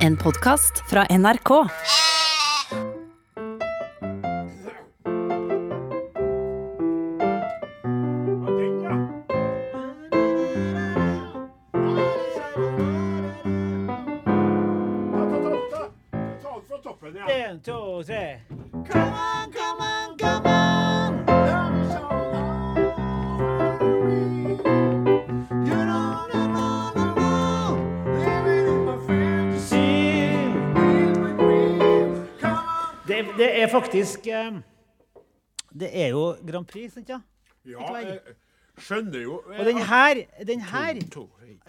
En podkast fra NRK. En, to, tre. Det, det er faktisk eh, Det er jo Grand Prix, sant? ja? Ja, jeg skjønner jo Og den her, den her To,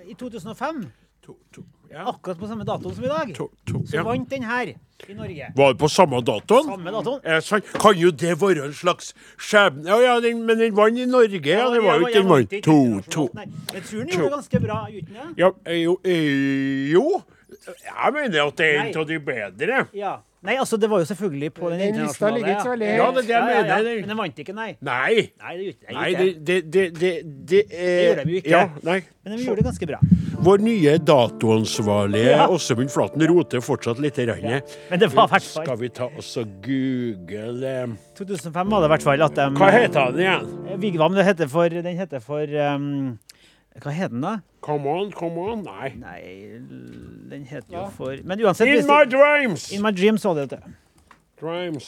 i 2005, to, to, ja. akkurat på samme dato som i dag, to, to, så ja. vant den her i Norge. Var det på samme datoen? Samme datoen. Er det sant? Kan jo det være en slags skjebne Ja, ja, den, men den vant i Norge, ja. Det var jo ikke jeg den vant. ikke To, to. internasjonalt, nei. Jeg tror den gjorde det ganske bra, gjorde den det? Ja, eh, jo, eh, jo. Jeg mener at det er Nei. en av de bedre. Ja. Nei, altså, det var jo selvfølgelig på den Den lista internasjonale. ligger ikke så veldig Ja, det er det jeg ja, ja. mener. Men den vant ikke, nei. Nei. Nei, det gjorde Nei, den det, ikke. det, det, det, det, eh, Det gjorde de jo ikke. Ja, nei. Men den gjorde det ganske bra. Vår nye datoansvarlige Ja. Åsemund Flaten roter fortsatt litt. Ja. Men det var i hvert fall Skal vi ta oss og google eh, 2005 var det i hvert fall at de Hva heter han igjen? Vigvam, det heter for Den heter for um, Hva heter den, da? Come on, come on. Nei. Nei, l- den heter jo for Men uansett In hvis- my dreams! In my dreams, var det det. Dreams.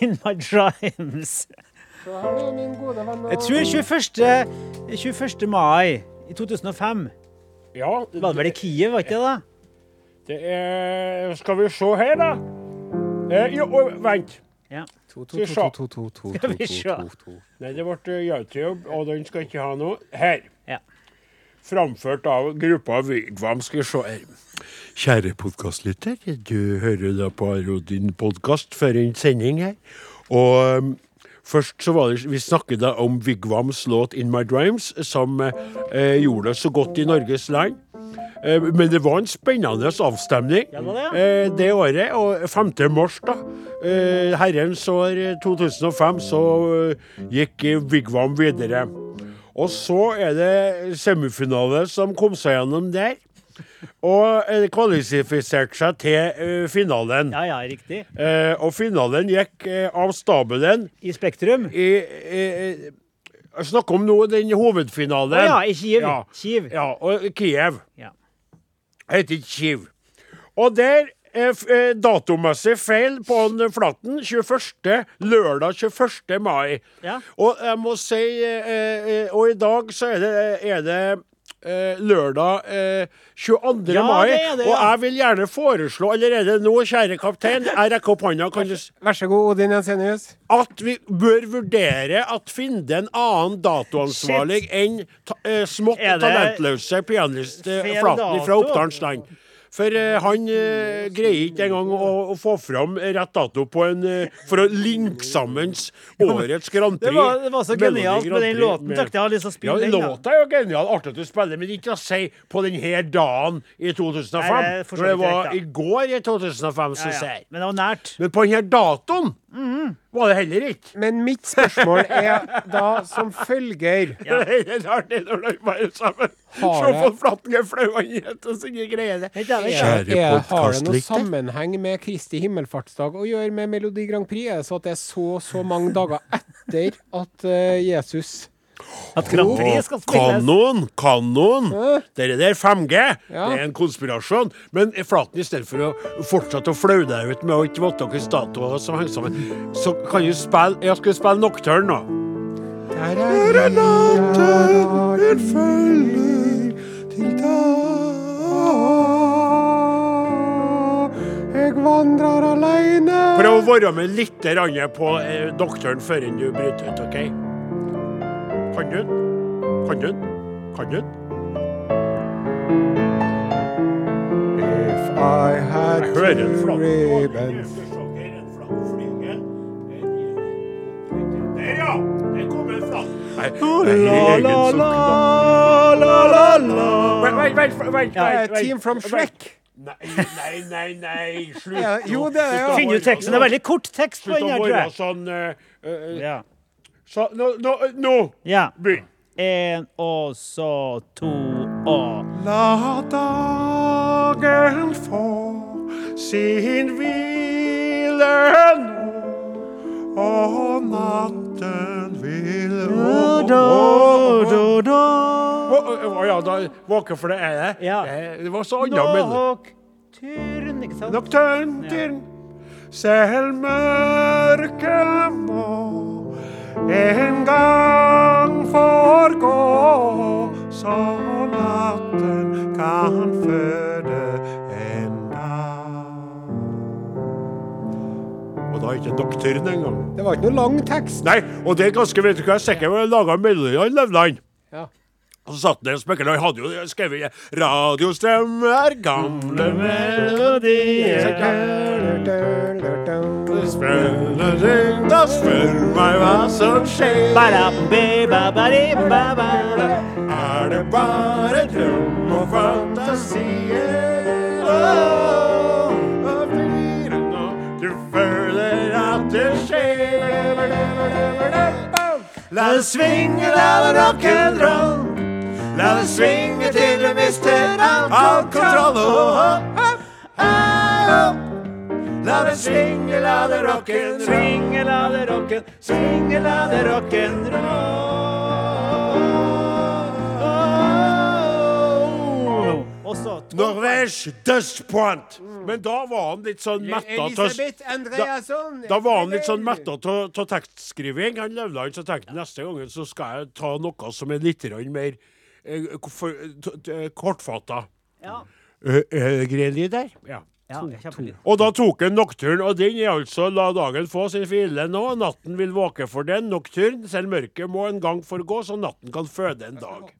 In my dreams. Så har du min gode venn og Jeg tror 21. 21. mai i 2005 Ja, var det vel i Kiev, var ikke det? da? det er Skal vi se her, da. Eh, jo, oi, vent. Ja. Skal vi sjå. Nei, det ble Yautjob, og den skal ikke ha noe. Her. Ja. Framført av gruppa Vigvam. Skal vi se her. Kjære podkastlytter, du hører da på Aro din podkast før en sending her. Og um, først så var det Vi snakket da om Vigvams låt 'In My Dreams', som eh, gjorde det så godt i Norges land. Eh, Men det var en spennende avstemning Ja, det var det, eh, det året. Og 5. mars, da, eh, herrens år eh, 2005, så eh, gikk eh, Vigvam videre. Og så er det semifinale som kom seg gjennom der. Og eh, kvalifiserte seg til eh, finalen. Ja, ja, riktig. Eh, og finalen gikk eh, av stabelen I Spektrum. i, i, i Jeg snakker om nå den hovedfinalen. Å ja, i Kiev. Ja. Kiev. Ja, og Kiev Ja. heter ikke Kiev. Og der er f- eh, datomessig feil på han Flatten. 21. lørdag 21. mai. Ja. Og jeg må si eh, eh, Og i dag så er det, er det eh, lørdag eh, 22. Ja, mai. det er det, ja. Og jeg vil gjerne foreslå allerede nå, kjære kaptein, jeg rekker opp hånda, kan du s- Vær så god, Odin Jensenius. at vi bør vurdere at finne en annen datoansvarlig enn ta, eh, smått Er det talentløse pianist eh, feil Flaten fra dato? Oppdalens land. For eh, han eh, greier ikke engang å, å få fram rett dato på en, eh, for å linke sammen årets Grand Prix. Det var, det var så Melodi genialt med Grand den Prix låten. med- Takk, jeg har lyst til ja, å spille den. da. Låta er jo genial, artig at du spiller, men ikke å si på denne dagen i 2005. Nei, det er for så når det vidt var rett, i da. går i 2005, Ja, syns ja. jeg. Men det var nært. Men på denne datoen Mm. var det heller ikke. Men mitt spørsmål er da som følger. Ja. Det er helt artig når de bare sammen. Har Se på det. flatten er flau han heter og sine greiene. Helt ærlig. Er, Kjære er, har det noe podcastlytter. sammenheng med Kristi himmelfartsdag å gjøre med Melodi Grand Prix? Er det så at det er så så mange dager etter at eh, Jesus At Grand Prix skal spilles. Kanon, kanon! Dere der 5G, Ja. det er en konspirasjon. Men Flaten, i stedet for å fortsette å flaue deg ut med å ikke vite deres datoer som henger sammen, så kan du spille Jeg skal spille Nocturne nå. Der er Natten følger til dag jeg vandrer aleine Prøv å være med litt grann på eh, doktoren før du bryter ut, OK? Kan du den? Kan du den? Kan du den? If I had Jeg hører en flagg. ribbons Der, ja! Der kom en flagg. Nei, La, la, la, la, la, la. Vent, vent, vent. vent, Eh, vent, vent. Team from Shrek. Nei, nei, nei, nei. Slutt. Ja, nå. jo, det er det, ja. Finn ut teksten. Det er veldig kort tekst på Slutt den å her, tror være jeg. sånn eh, eh, Ja. så- Nå, nå, nå. ja. Begynn. En, og så to, og La dagen få sin hvile nå, og natten vil våke. Å å, ja, da våke for det er det. Ja. Eh, Det var så annet, men Nocturne, ikke sant? Nocturne, tyrn. Selv mørket må en gang forgå, så natten kan føde en dag. Og da er ikke nocturne engang. Det var ikke noe lang tekst. Nei, og det er ganske, vet du hva, jeg er sikker på at laga melodier i Levland. Ja. Og så satt han der og spekla, og hadde jo skrevet 'Radiostrøm er gamle melodier'. Spennende ting, da spør meg hva som skjer. Ba-da-bi-ba-ba-di-ba-ba. Er det bare drøm og fantasier? Åh, hva blir det nå? Du føler at det skjer. La det svinge, la det rock'n'roll. La det svinge til du mister all, all kontroll. Åh, åh, åh. La det svinge, la det rock'n'roll. Svinge, la det rocken, svinge, la det rock'n'roll. Og så Norvège dustpoint. Men da var han litt sånn metta Elisabeth Andreasson. Da var han litt sånn metta av tekstskriving. Han levde han så tenkte han, neste gangen så skal jeg ta noe som er litt grann mer eh, for, t- t- kortfatta. Ja. Eh, eh, Greli der. Ja. ja kjempelyd. Og da tok han nokturn, og den er altså la dagen få sin hvile nå, natten vil våke for den, nokturn, selv mørket må en gang forgå, så natten kan føde en dag.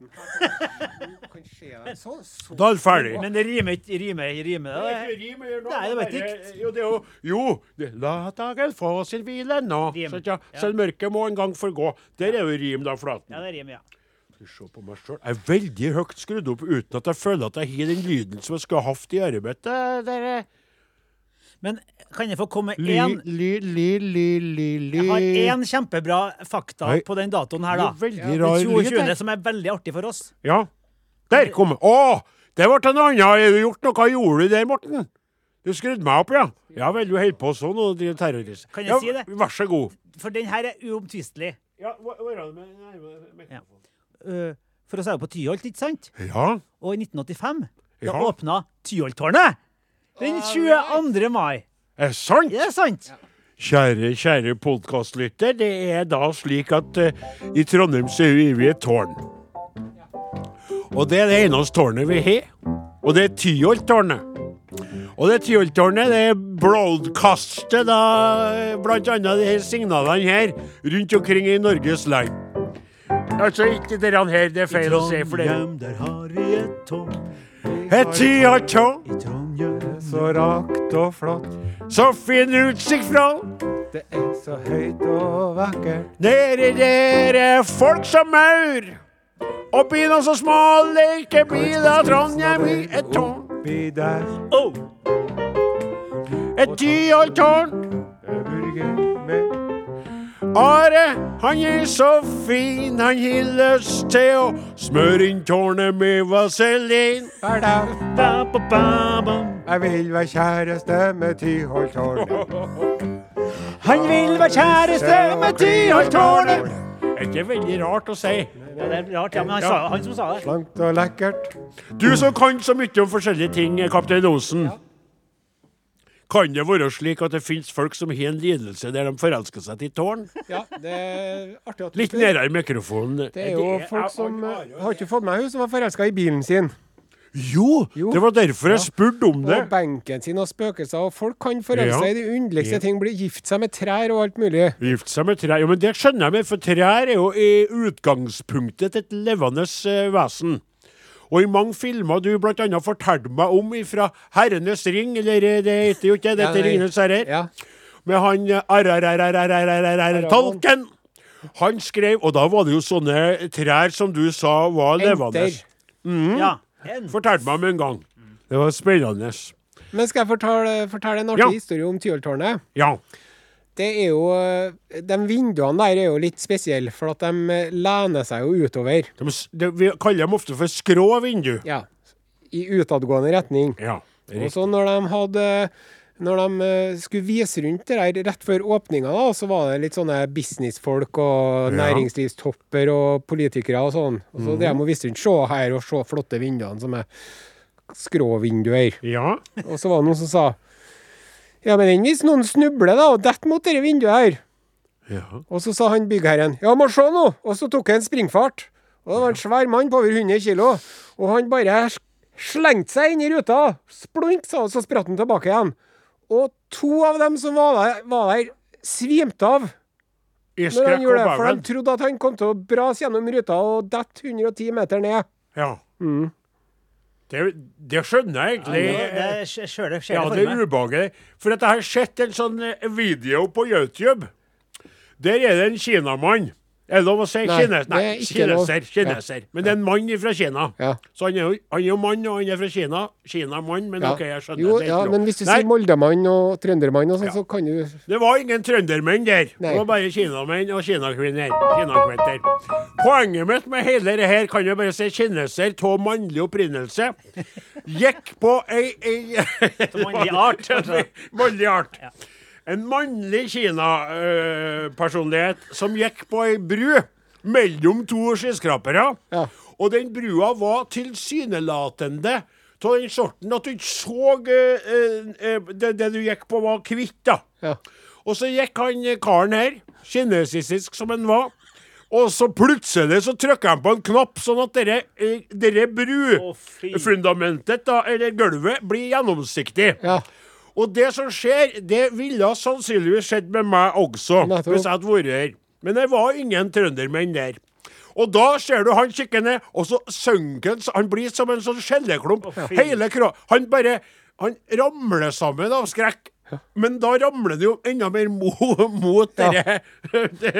Så, så. Da er han ferdig. Men det rimer ikke rimer, rimer Det det? er ikke rim eller noe, Nei, det var et bare- dikt. Jo, det er jo, jo det, La dagen få sin hvile nå. Rim. sant, ja. Ja. Selv mørket må en gang forgå. Der er jo rim, da, Flaten. Ja, det rimer, ja. Skal vi se på meg selv. Jeg er veldig høyt skrudd opp uten at jeg føler at jeg har den lyden som jeg skulle hatt i øret mitt. eh, der, eh. Men kan jeg få komme med Ly, én? ly, ly, ly, ly, ly. Jeg har én kjempebra fakta Nei. på den datoen her, da. Det er veldig Den rar lyd 22. der. som er veldig artig for oss. Ja. Der kom den. Å! Det ble en annen. Har du gjort noe? Hva gjorde du der, Morten? Du skrudde meg opp, ja? Ja vel, du holder på sånn og driver terrorist. Kan jeg ja, si det? Vær så god. For den her er uomtvistelig. Ja, hva, hva er det med, nei, med, med Ja. Eh, For oss er jo på Tyholt, ikke sant? Ja. Og i 1985 da Ja. åpna Tyholttårnet! Den 22. mai. Er det sant? Er det sant? Kjære, kjære podkastlytter. Det er da slik at eh, i Trondheim så er vi i et tårn. Og det er det eneste tårnet vi har. Og det er Tyholttårnet. Og det Tyholttårnet det broadcaster da eh, blant annet de her signalene her rundt omkring i Norges land. Altså ikke det her, det er feil å si for det. der har vi et tårn. Et Tyholttårn, I Trondheim Så rakt og flott, så fin utsikt fra det er så høyt og vakkert. Dere, dere, folk som maur. Og biler så små lekebiler. Trondheim i et tårn. Oppi der oh, Et tyholttårn. er burger med Are, han er så fin, han har lyst til å smøre inn tårnet med vaselin. hver dag. ba, ba, ba, bam. Jeg vil være kjæreste med Tyholttårnet. Han vil være kjæreste med Tyholttårnet. Er ikke det veldig rart å si? Ja, det er rart, ja, men han, sa, han som sa det. Langt og lekkert. Du som kan så mye om forskjellige ting, kaptein Osen. Kan det være slik at det fins folk som har en lidelse der de forelsker seg til tårn? Ja, det er artig at du Litt spør. nærmere mikrofonen. Det er jo folk som eh, Har ikke fått med henne som var forelska i bilen sin. Jo, Jo. det var derfor jeg spurte om det. Og benken sin og spøkelser. Og folk kan forelske seg i de underligste Ja. ting. Bli gift seg med trær og alt mulig. Gift seg med trær. Jo, men det skjønner jeg, men for trær er jo i utgangspunktet et levende eh, vesen. Og i mange filmer du bl.a. fortalte meg om fra 'Herrenes ring', eller eh, det heter jo ikke det, Ja, heter nei. 'Ringenes herrer', Ja. med han eh, arrarararararar- Tolken. Han skrev, og da var det jo sånne trær som du sa var levende. Enter. Mm. Ja. En. Fortalte meg om en gang. Det var spennende. Men skal jeg fortelle, fortelle en artig Ja. historie om Tyholttårnet? Ja. Det er jo eh, De vinduene der er jo litt spesielle, for at de eh, lener seg jo utover. De, s- det- vi kaller dem ofte for skrå vindu. Ja. I utadgående retning. Ja. Og så når de hadde Når de eh, skulle vise rundt det der rett før åpninga, da, så var det litt sånne businessfolk og Ja. næringslivstopper og politikere og sånn. Og så drev de og viste rundt. Se her, og se flotte vinduene som er skråvinduer. Ja. Og så var det noen som sa Ja, men enn hvis noen snubler, da, og detter mot dette vinduet her? ja. Og så sa han byggherren Ja, må se nå! Og så tok han springfart. Og det var en svær mann på over 100 kilo. Og han bare s- slengte seg inn i ruta. Splunk, sa han, så spratt han tilbake igjen. Og to av dem som var der, var der svimte av I når han skrekk og gjorde det. For beven. de trodde at han kom til å brase gjennom ruta og dette 110 meter ned. Ja. Mm. Det, det skjønner jeg egentlig. Det, det er- jeg ser det, ser Ja, det det for er meg. ubehagelig. For at jeg har sett en sånn eh, video på YouTube. Der er det en kinamann. Er det lov å si Nei, kines? Nei, det er ikke lov. kineser. kineser. Men det er en mann fra Kina. Ja. Så han er, jo, han er jo mann, og han er fra Kina. Kinamann, men Ja. OK, jeg skjønner. det jo, er ikke ja, lov. men hvis du Nei, sier Moldemann og Trøndermann og sånn, så kan du det var ingen trøndermenn der. Nei. Det var bare kinamenn og kinakvinner. kinakvinner. Poenget mitt med hele det her kan jeg bare si kineser av mannlig opprinnelse gikk på ei, ei mannlig art, altså. Mannlig art. En mannlig Kina-personlighet som gikk på ei bru mellom to skyskrapere. Ja. Og den brua var tilsynelatende av den sorten at du ikke så eh, eh, eh, det, det du gikk på, var hvitt. da. Ja. Og så gikk han eh, karen her, kinesisk som han var, og så plutselig så trykka han på en knapp, sånn at dere, eh, dere Å, fy. brufundamentet, da, eller gulvet, blir gjennomsiktig. Ja. Og det som skjer, det ville sannsynligvis skjedd med meg også, Nettopp. hvis jeg hadde vært her. Men det var ingen trøndermenn der. Og da ser du han kikker ned, og så synker han. så Han blir som en sånn skjelleklump. fy. Hele kro Han bare Han ramler sammen av skrekk. Men da ramler det jo enda mer mo mot dere. det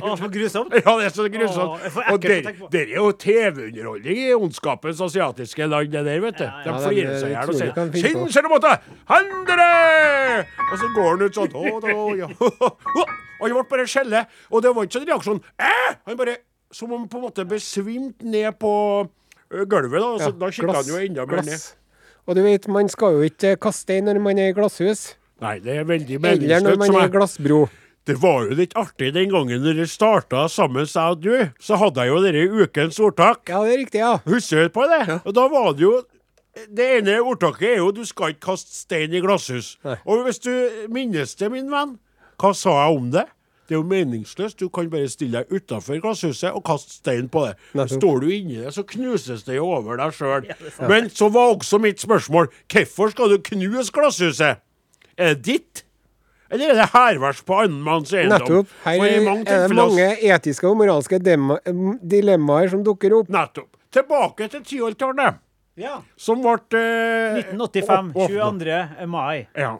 Å, så grusomt. Ja, det er så grusomt. Å, det er for og ekkelt det, å tenke på. det er jo TV-underholdning i ondskapens asiatiske land, det der, vet du. ja. De Ja, det flirer seg i er hjel og utrolig sier hva de finner på. 'Sinn ser du måtte! Handle!' Og så går han ut sånn. «Å, da, ja. Og han ble bare skjelle. Og det var ikke sånn reaksjon. «Æ!» Han bare Som om han på en måte besvimte ned på ø, gulvet, da. Så Ja, da kikket han jo enda mer ned. glass. Og du vet, man skal jo ikke kaste stein når man er i glasshus. Nei, det er veldig Eller meningsløst. når man som er i jeg- glassbro. Det var jo litt artig den gangen dere starta sammen, jeg og du. Så hadde jeg jo dere ukens ordtak. Ja, det er riktig, ja. Husker du på det? Og da var det jo Det ene ordtaket er jo du skal ikke kaste stein i glasshus. Nei. Og hvis du minnes det, min venn, hva sa jeg om det? Det er jo meningsløst. Du kan bare stille deg utafor glasshuset og kaste stein på det. Nettopp. Står du inni det, så knuses det jo over deg sjøl. Men så var også mitt spørsmål hvorfor skal du knuse glasshuset? Er det ditt? Eller er det hærverk på annen manns eiendom? Nettopp. Her For i er mange er det tilfeller- mange etiske og moralske dema- dilemmaer som dukker opp. Nettopp. Tilbake til tiårtallet. Ja. som ble eh, 1985, åpnet. 22. mai. Ja.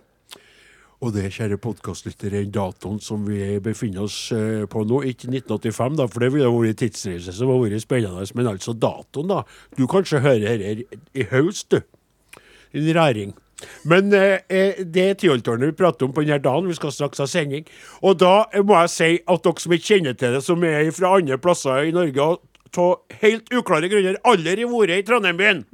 Og det, kjære podkastlyttere, er den datoen som vi befinner oss eh, på nå. Ikke 1985, da, for det ville vært en tidsreise som hadde vært spennende. Men altså datoen, da. Du kanskje hører dette i høst, du. En ræring. Men eh, eh, det er tiårtårnet vi prater om på denne dagen. Vi skal straks ha sending. Og da eh, må jeg si at dere som ikke kjenner til det, som er fra andre plasser i Norge, og av helt uklare grunner aldri har vært i Trondheim-byen.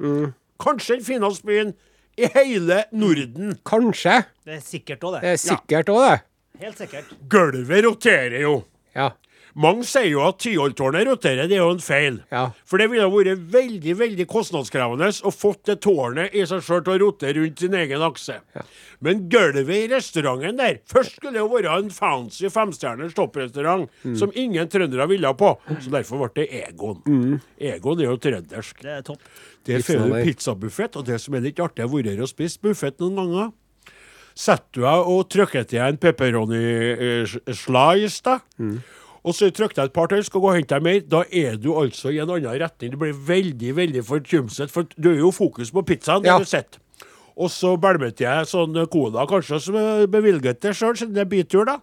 Kanskje den fineste byen i hele Norden. Kanskje. Det er sikkert òg, Det det. er sikkert òg, det. Helt sikkert. Gulvet roterer jo. Ja. Mange sier jo at Tyholttårnet roterer, det er jo en feil. Ja. For det ville vært veldig veldig kostnadskrevende å fått det tårnet i seg sjøl til å rote rundt sin egen akse. Men gulvet i restauranten der Først skulle det jo være en fancy femstjerners topprestaurant som ingen trøndere ville på, så derfor ble det Egon. Egon er jo trøndersk. Det er topp. Det Pizza får du der. pizzabuffett, og det som er litt artig, jeg har vært her og spist buffett noen ganger. Setter du deg og trykker til deg en pepperoni eh, s- slice, da. Og så trykker jeg et par til, skal gå og hente deg mer. Da er du altså i en annen retning. Du blir veldig, veldig forkjumset, for du er jo fokus på pizzaen. Ja. Det du sitter. Og så bælmet jeg sånn cola, kanskje, som jeg bevilget til sjøl, siden det er bitur, da.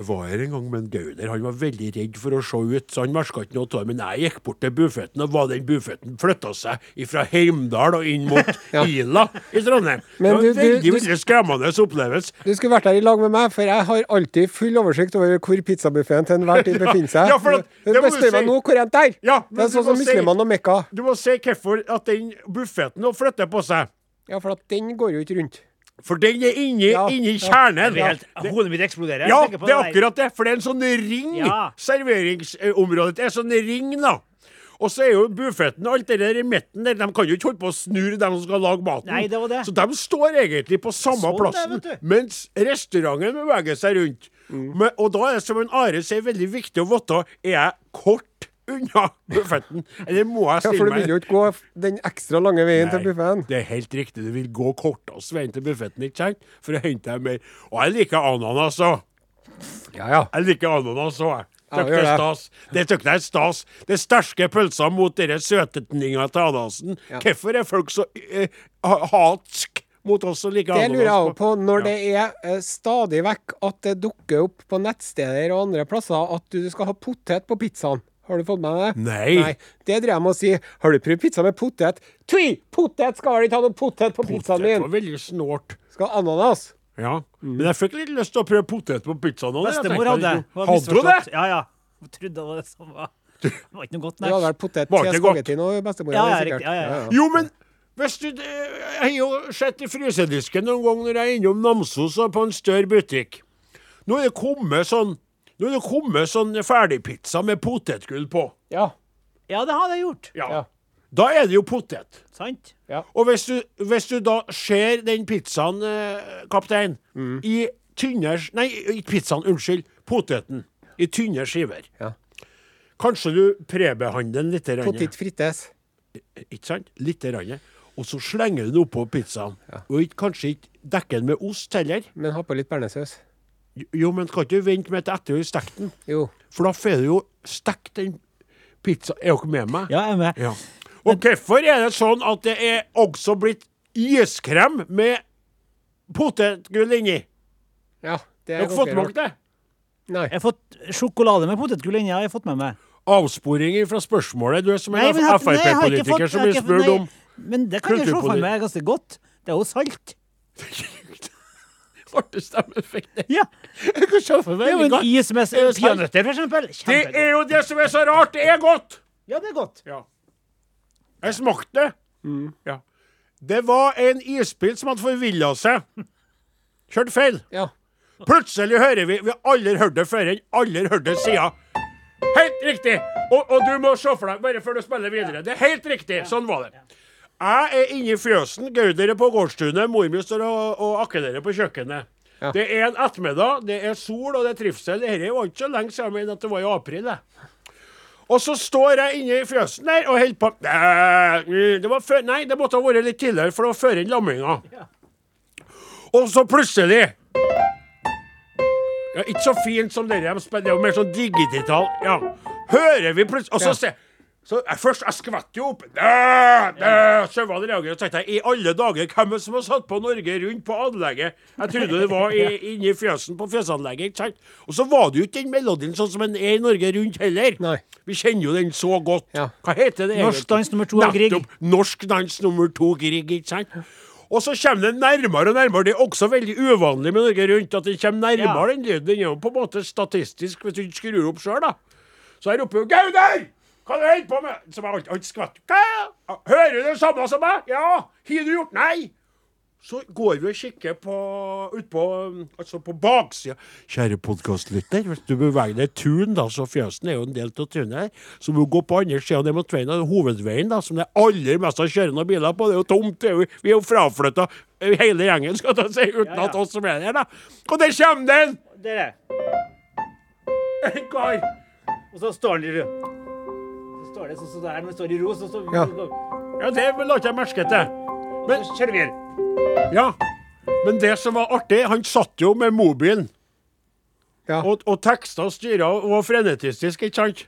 Jeg var her en gang med en gauder. Han var veldig redd for å se ut, så han merka ikke noe av det. Men jeg gikk bort til bufetten, og var den bufetten flytta seg fra Heimdal og inn mot Ja. Ila i Trondheim. det var Men en du- du- veldig, du- veldig skremmende opplevelse. Du skulle vært der i lag med meg, for jeg har alltid full oversikt over hvor pizzabuffeen til enhver tid befinner seg. ja, for at- Du det må bare du spør meg si. nå hvor er den der? Ja, det men er sånn du må som si- muslimene og Mekka. Du må se hvorfor at den buffeten nå flytter på seg. Ja, for at den går jo ikke rundt. For den er inni, Ja, inni ja. kjernen. Det er helt, hodet mitt eksploderer. Ja, Jeg tenker på det er der. akkurat det. For det er en sånn ring. Ja. Serveringsområdet det er en sånn ring, da. Og så er jo buffetten og alt det der i midten der, de kan jo ikke holde på å snurre dem som skal lage maten. Nei, det var det. Så de står egentlig på samme Sånn det, plassen, vet du. mens restauranten beveger seg rundt. Mm. Men, og da er det som en Are sier, veldig viktig å vite er jeg kort unna buffetten, eller må jeg Ja, stille for du meg vil jo ikke gå den ekstra lange veien til Nei, buffeen. Det er helt riktig. Du vil gå kortest veien til buffetten, ikke sant? For å hente deg mer. Og jeg liker ananas òg. Ja, ja. Jeg liker ananas òg, jeg. Ja, Tøkk gjør det er det. stas. Det tøkk det er stas. Det er sterke pølser mot dere søtetninga til ananasen. Hvorfor er folk så eh, ha- hatsk mot oss som liker Det ananas? lurer jeg også på. Når Ja. det er eh, stadig vekk at det dukker opp på nettsteder og andre plasser at du skal ha potet på pizzaen. Har du fått med deg det? Nei. Det driver jeg med å si. Har du prøvd pizza med potet? Tvi! Potet skal vel ikke ha noe potet på pizzaen Potet min! Mm. var veldig snålt. Skal ha ananas. Ja. Men jeg fikk litt lyst til å prøve potet på pizzaen. nå, jeg Bestemor tenkte hadde litt på- var Hadde du det? misforstått. Ja, ja. Hun trodde det var det som var Det var ikke noe godt, Det hadde nei. vært potet Var til ikke godt. spagetti nå, bestemor. Ja, ja, sikkert. riktig. Ja, ja, ja. Jo, men hvis du, eh, jeg har jo sett i frysedisken noen gang når jeg er innom Namsos og på en større butikk. Nå er det kommet sånn nå er det kommet sånn ferdigpizza med potetgull på. ja. Ja, det hadde jeg gjort. Ja. Da er det jo potet. Sant? Og hvis du, hvis du da ser den pizzaen, eh, kaptein, Mm. i tynne sk- Nei, ikke pizzaen, unnskyld. Poteten. I tynne skiver. Ja. Kanskje du prebehandler den litt? grann. Potet frites. ikke sant? Litt rann. Og så slenger du den oppå pizzaen. Og ikke, kanskje ikke dekker den med ost heller. Men ha på litt bearnéssaus. Jo, men kan ikke du vente med til etter du har stekt den? Jo. For da får du jo stekt den pizzaen. Er dere med meg? Ja, jeg er med. Ja. Og hvorfor er det sånn at det er også blitt iskrem med potetgull inni? Ja. Det Dere er har fått ganske med rart. dere det? Nei. Jeg har fått sjokolade med potetgull inni, har jeg fått med meg. altså, Avsporinger fra spørsmålet. Du er som en Nei, men jeg har- nei, jeg har ikke Frp-politiker fått- som jeg blir har ikke- spurt nei, om Men det kan jeg se for kulturpolitikk. meg er ganske godt. Det er jo salt. Artig stemmeeffekt. Ja. Jeg kan se for Det meg er jo en is med Det er jo salt. peanøtter, for eksempel. Det Kjempegodt. er jo det som er så rart. Det er godt. Ja, Mm. det er godt. Ja. Jeg smakte det. Ja. Det var en isbil som hadde forvilla seg. Kjørt feil. Ja. Plutselig hører vi Vi har aldri hørt det før enn aldri hørt det siden. Helt riktig! Og, og du må se for deg, bare før du spiller videre. Det er helt riktig. Sånn var det. Jeg er inne i fjøsen, Gauder er på gårdstunet, mor mi står og, og akkelerer på kjøkkenet. Ja. Det er en ettermiddag, det er sol og det er trivsel. Dette er jo ikke så lenge siden, men at det var i april. Det. Og så står jeg inne i fjøsen der og holder på Nei, det var før, Nei, det måtte ha vært litt tidligere, for det var før inn lamminga. Og så plutselig ja, Ikke så fint som dere, men det er jo mer sånn digital. Ja. Hører vi plutselig Og så se så jeg, Først jeg skvetter jo opp. Dæ, dæ, Sjauene reagerer. Så tenkte jeg, i alle dager, hvem er det som har satt på Norge Rundt på anlegget? Jeg trodde det var i, inni fjøsen på fjøsanlegget. ikke sant? Og så var det jo ikke den melodien sånn som den er i Norge Rundt heller. Nei. Vi kjenner jo den så godt. Ja. Hva heter det Norsk dans nummer to av Grieg. Nettopp. Norsk dans nummer to Grieg, ikke sant? Og så kommer den nærmere og nærmere. Det er også veldig uvanlig med Norge Rundt at den kommer nærmere den lyden. Den er jo på en måte statistisk, hvis du ikke skrur opp sjøl, da. Så jeg roper jo 'Gauder! Hva er det du holder på med?' Som jeg alt- alt skvetter. Hva? Hører du det samme som meg? Ja. Har du gjort Nei. Så går vi og kikker på utpå altså på baksida. Kjære podkastlytter, hvis du beveger deg i tun, da, så fjøsen er jo en del av tunet her, så må du gå på andre sida av det mot veien, da, hovedveien, da, som det er aller mest av kjørende biler på. Det er jo tomt, det er jo, vi er jo fraflytta hele gjengen, skal jeg ta og si, uten at oss som er der, da. Og der kommer den! Dere, En kar. og så står den i ro. Så står det sånn som det er når det står i ro, så står Ja. Ja, det la ikke jeg merke til. Men Så kjører vi her. ja. Men det som var artig, han satt jo med mobilen. Ja. Og, og tekster og styrer og var frenetistisk, ikke sant?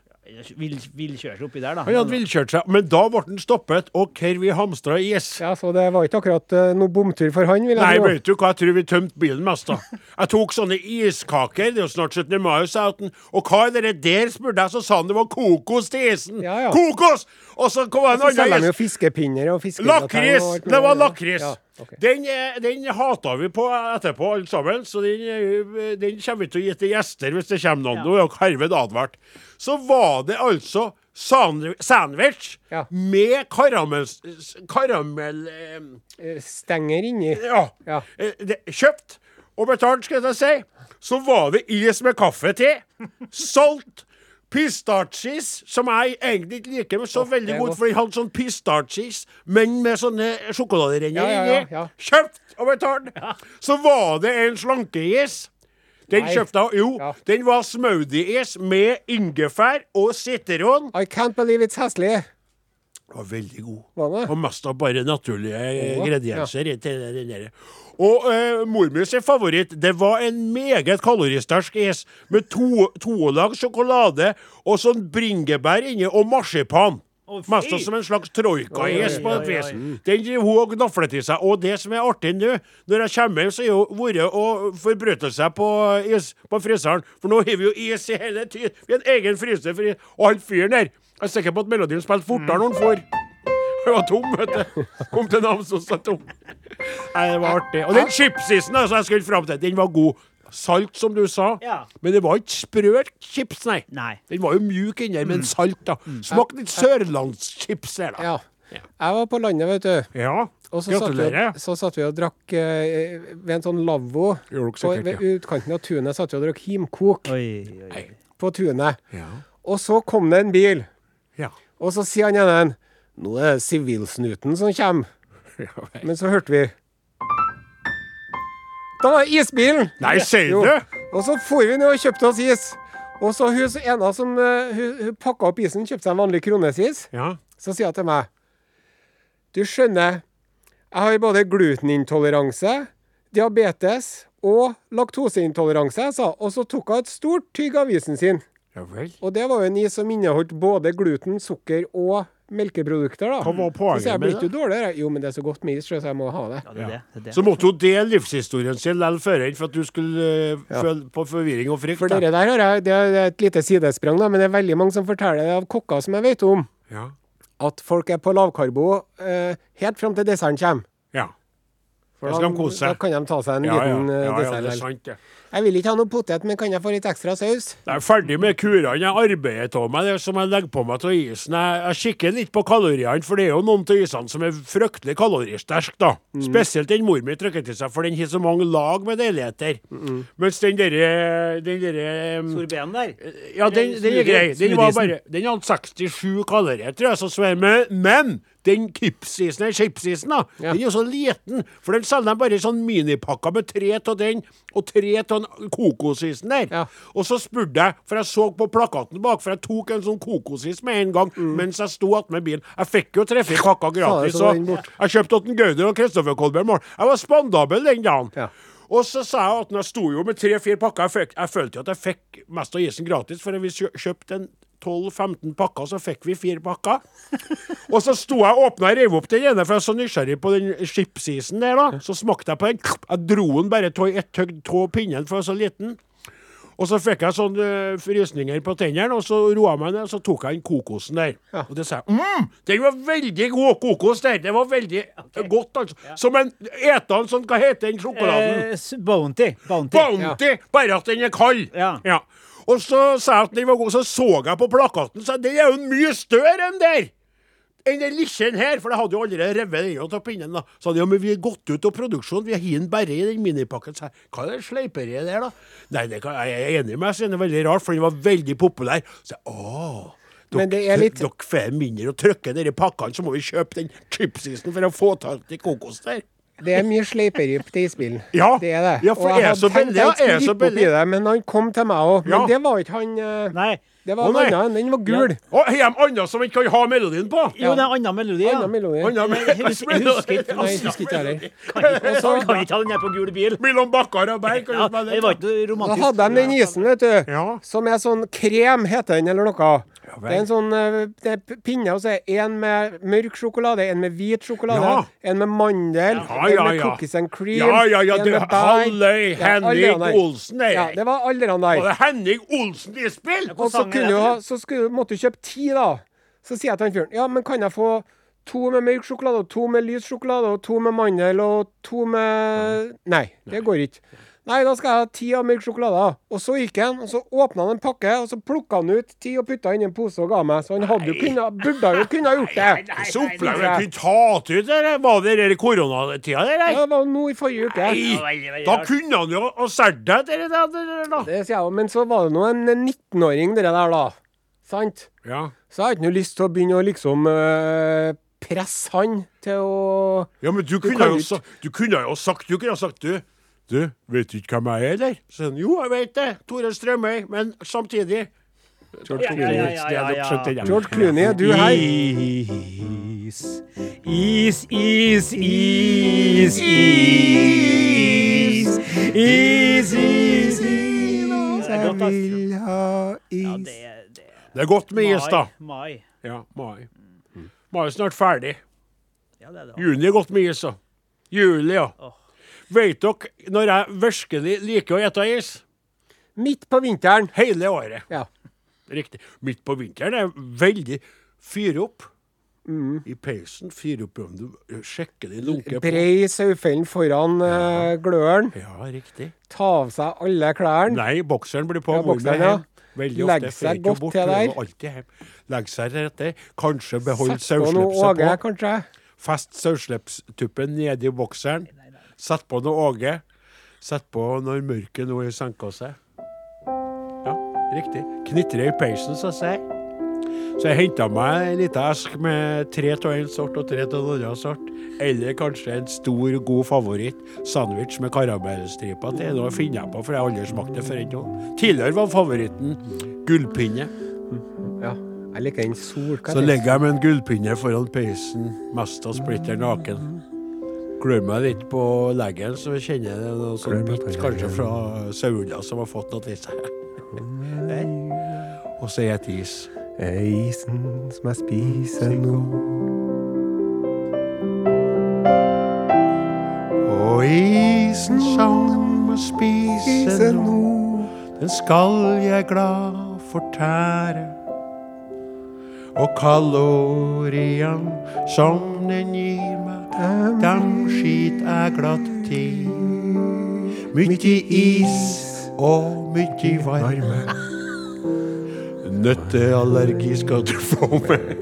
Vil, vil kjøre seg oppi der, da. Han hadde villkjørt seg, men da ble han stoppet, og hvor vi hamstra is. ja, så det var ikke akkurat uh, noe bomtur for han, vil Nei, jeg tro. vet du hva, jeg tror vi tømte bilen mest, da. Jeg tok sånne iskaker, det er jo snart 17. mai, sa jeg. til han. Og hva er det der, spurte jeg, så sa han det var kokos til isen. Ja, ja. Kokos! Og så kom en Så selger de annen jo is. fiskepinner og fiskegratin. Lakris! Det var lakris. Ja, ok. Den, eh, den hata vi på etterpå, alle sammen, så den, eh, den kommer vi til å gi til gjester hvis det kommer noen. Nå er dere herved advart. Så var det altså sand- sandwich Ja. med karamell... s- karamell eh, Eh, Stenger inni. ja. Ja. Eh, det, kjøpt og betalt, skal jeg si. Så var det is med kaffe til. Salt. Pistasjis, som jeg egentlig ikke liker, men så veldig det er godt, godt. for den hadde sånn pistasjis, men med sånne sjokoladerenner Ja, ja, ja, inni. ja. Kjøpt og betalt. Så var det en slankeis. Den Nei. kjøpte jeg. Jo, Ja. den var smoothieis med ingefær og sitron. I can't believe it's heslig. Var veldig god. Var det? Og mest av bare naturlige eh, Ja. ingredienser. i til den der. Og eh, mormor sin favoritt, det var en meget kaloristerk is med to, tolag sjokolade og sånn bringebær inni og marsipan. Å, fy! Mest av som en slags troika-is, Oi, på oi, et vis. oi. Den driver hun og gnafler til seg. Og det som er artig nå, når jeg kommer hjem, så er hun vært og forbrutt seg på is på fryseren. For nå har vi jo is i hele tiden. Vi har en egen fryser for is. Og han fyren der, jeg er sikker på at melodien spiller fortere når han får. Hun var tom, vet du. Kom til Namsos og tom. Nei, det var artig. Og den chipsisen altså, jeg skulle fram til, den var god. Salt, som du sa. Ja. Men det var ikke sprø chips, nei. Mm. Nei. Den var jo mjuk inni, men salt, da. Smakte litt sørlandschips her, da. Ja. Jeg var på landet, vet du. Ja, Og så satt, vi, gratulerer. og- så satt vi og drakk eh, ved en sånn lavvo. Gjorde dere På- sikkert, Ved ja. utkanten av tunet satt vi og drakk himkok Oi, oi, oi. på tunet. Ja. Og så kom det en bil, Ja. og så sier han ene Nå er det sivilsnuten som kommer. Men så hørte vi Da var det isbilen! Nei, sier Jo. du? Og så for vi ned og kjøpte oss is. Og så hun så ena som eh, hun, hun pakka opp isen, kjøpte seg en vanlig kronesis. Ja. Så sier hun til meg Du skjønner, jeg har både glutenintoleranse, diabetes og laktoseintoleranse, jeg sa. Og så tok hun et stort tygg av isen sin. Ja vel. Og det var jo en is som inneholdt både gluten, sukker og melkeprodukter, da. Hva var så poenget sier jeg med blir ikke du dårligere? Jo, men det er så godt med is, så jeg må ha det. Ja, det er det. det, er det. Så måtte hun dele livshistorien sin likevel før for at du skulle eh, føle på forvirring og frykt. For da. dere der har jeg, det er et lite sidesprang, da, men det er veldig mange som forteller det av kokker som jeg vet om, Ja. at folk er på lavkarbo eh, helt fram til desserten kommer. ja. For Da skal de kose seg. Da kan de ta seg en Ja, ja. liten eh, ja, ja, dessert. det er vel. sant, det. jeg vil ikke ha noe potet, men kan jeg få litt ekstra saus? Jeg er ferdig med kurene. Jeg arbeider av meg det som jeg legger på meg av isen. Jeg, jeg kikker litt på kaloriene, for det er jo noen av isene som er fryktelig kaloristerke, da. Spesielt den mor mi trykker til seg, for den har så mange lag med deiligheter. Mens den derre Den derre um, Sorbeten der. Ja, den, den er grei. Den var Smoothiesen. bare Den hadde 67 kalorier, tror jeg, så svær. Men, men den kipsisen, eller chipsisen, da, Ja. den er jo så liten. For den selger de bare i sånn minipakker med tre av den, og tre av den kokosisen der. Ja. Og så spurte jeg, for jeg så på plakaten bak, for jeg tok en sånn kokosis med en gang Mm. mens jeg sto attmed bilen. Jeg fikk jo treffe i kakka gratis, så så var den borte. jeg kjøpte åtten Gauder og Kristoffer Kolbjørn Mål. Jeg var spandabel den dagen. Ja. Og så sa jeg at når jeg sto jo med tre-fire pakker. Jeg, fikk, jeg følte jo at jeg fikk mest av isen gratis, for vi kjø- kjøpte en 12-15 pakker, så fikk vi fire pakker. og så sto jeg og åpna og rev opp den ene, for jeg var så nysgjerrig på den chipsisen der, da. Så smakte jeg på den. Jeg dro den bare av ett tøgg av pinnen, for jeg var så liten. Og så fikk jeg sånn øh, frysninger på tennene, og så roa jeg meg ned, og så tok jeg den kokosen der. Og det sa jeg mm, Den var veldig god kokos der! Det var veldig godt, altså. Som en Eta en sånn Hva heter den sjokoladen? Eh, s- bounty. Bounty. Bounty! Bare at den er kald! Ja. Og så sa jeg at den var god, så så jeg på plakaten, så jeg, den er jo mye større enn der! Enn den lille her, for jeg hadde jo allerede revet den av pinnen. da. Så hadde jeg, men vi er gått ut av produksjon, vi har den bare i den minipakken. Så jeg, hva er det sleiperiet der, da? Nei, det kan, jeg er enig med deg, så det er veldig rart, for den var veldig populær. Så jeg, åh. Men det er litt- Dere får mindre og trykker dere pakkene, så må vi kjøpe den chipsisen for å få tak i kokos der. Det er mye sleiperi på isbilen. Ja. Det er det. Ja, for og jeg er hadde så tenkt billig, ja, jeg skulle er så rippe opp i billig. det, men han kom til meg òg. Men Ja. det var ikke han eh, Nei. Det var Å, en nei. annen. Den var gul. Å, har de annet som ikke kan ha melodien på? Jo, det er en annen melodi. Ja. Annen melodi. Anna Jeg husker- jeg husker ikke. Nei, jeg husker ikke heller. Kan Og så- ikke ha den her på gul bil. Mellom bakkar og berg. Ja, det var ikke noe Da romantisk. hadde de den isen, vet du. Ja. Som er sånn krem, heter den, eller noe. vel. det er en sånn eh, det er p- pinne, og så er en med mørk sjokolade, en med hvit sjokolade, Ja. en med mandel, Ja, en ja, med ja. cookies and cream, Ja, ja, ja, en du- med bær. Halløy, alle Henrik han der. Olsen, nei. Ja, det var alle han Var der. det Henning Olsen de spilte? Og så, sang er kunne det? du ha, så skulle, måtte du kjøpe ti, da. Så sier jeg til han fyren Ja, men kan jeg få to med mørk sjokolade, og to med lys sjokolade, og to med mandel, og to med Nei, det går ikke. Nei, da skal jeg ha ti av mørk sjokolade. Og så gikk han, og så åpna han en pakke, og så plukka han ut ti og putta inn i en pose og ga meg. Så han hadde jo kunnet- burde jo kunne ha gjort det. Så opplever jeg kunne tatt ut det der. Var det der i koronatida, det der? Ja, det var jo nå i forrige uke. Nei, da kunne han jo ha solgt deg det der, det der, da. Det sier jeg òg, men så var det nå en 19-åring, det der, da. Sant? Ja. Så jeg har ikke noe lyst til å begynne å liksom øh, presse han til å ja, men du kunne, kan jo, ikke. sa- du kunne jo sagt Du kunne ha sagt, du Du, vet du ikke hvem jeg er, eller? Så sier han, jo, jeg vet det. Tore Strømøy. Men samtidig George Ja, ja, ja, ja, ja, ja. George Clooney, er du her? Is, is, is, is, is. Is, is, is. Det er godt, ass. Vil ha Ja, is. det er- det er- Det er godt med is, da. Mai. mai. Ja, mai. Mm. Mai er snart ferdig. Ja, det er det. Juni er godt med is, da. Juli, ja. Åh. Vet dere når jeg virkelig liker å ete is? Midt på vinteren. Hele året. Ja. Riktig. Midt på vinteren er veldig Fyr opp. Mm. I peisen, fyr opp om du sjekker det lunker på. Brei sauefellen foran øh, gløren. Ja, riktig. Ta av seg alle klærne. Nei, bokseren blir på. Ja, Mor mi er hjem. bokseren, ja. Veldig Legg ofte. seg fer ikke godt bort, til hun er der. alltid hjem. Legg seg til rette. Kanskje behold Og nå saueslepset Åge, på. kanskje. Fest saueslepstuppen nedi bokseren. Sett på noe Åge. Sett på når mørket nå har senka seg. Ja, riktig. Knitre i peisen, som jeg sier. Så jeg henta meg ei lita esk med tre av en sort og tre av en annen sort. Eller kanskje en stor, god favoritt. Sandwich med karamellstriper til. Nå finner jeg på, for jeg har aldri smakt det før ennå. Tidligere var favoritten gullpinne. Ja. Jeg liker den solkalde. Så legger jeg med en gullpinne foran peisen, mest av splitter naken. Klør meg litt på leggen, så kjenner jeg det noe sånn bitt, kanskje fra sauehunder som har fått noe i seg. Der. Og så er det is. Er isen som jeg spiser nå. Og isen som jeg spiser nå, den skal jeg glad fortære. Og kaloriene som den gir meg, dem skit jeg glatt i. Mykje is og mykje varme. Nøtteallergi skal du få med.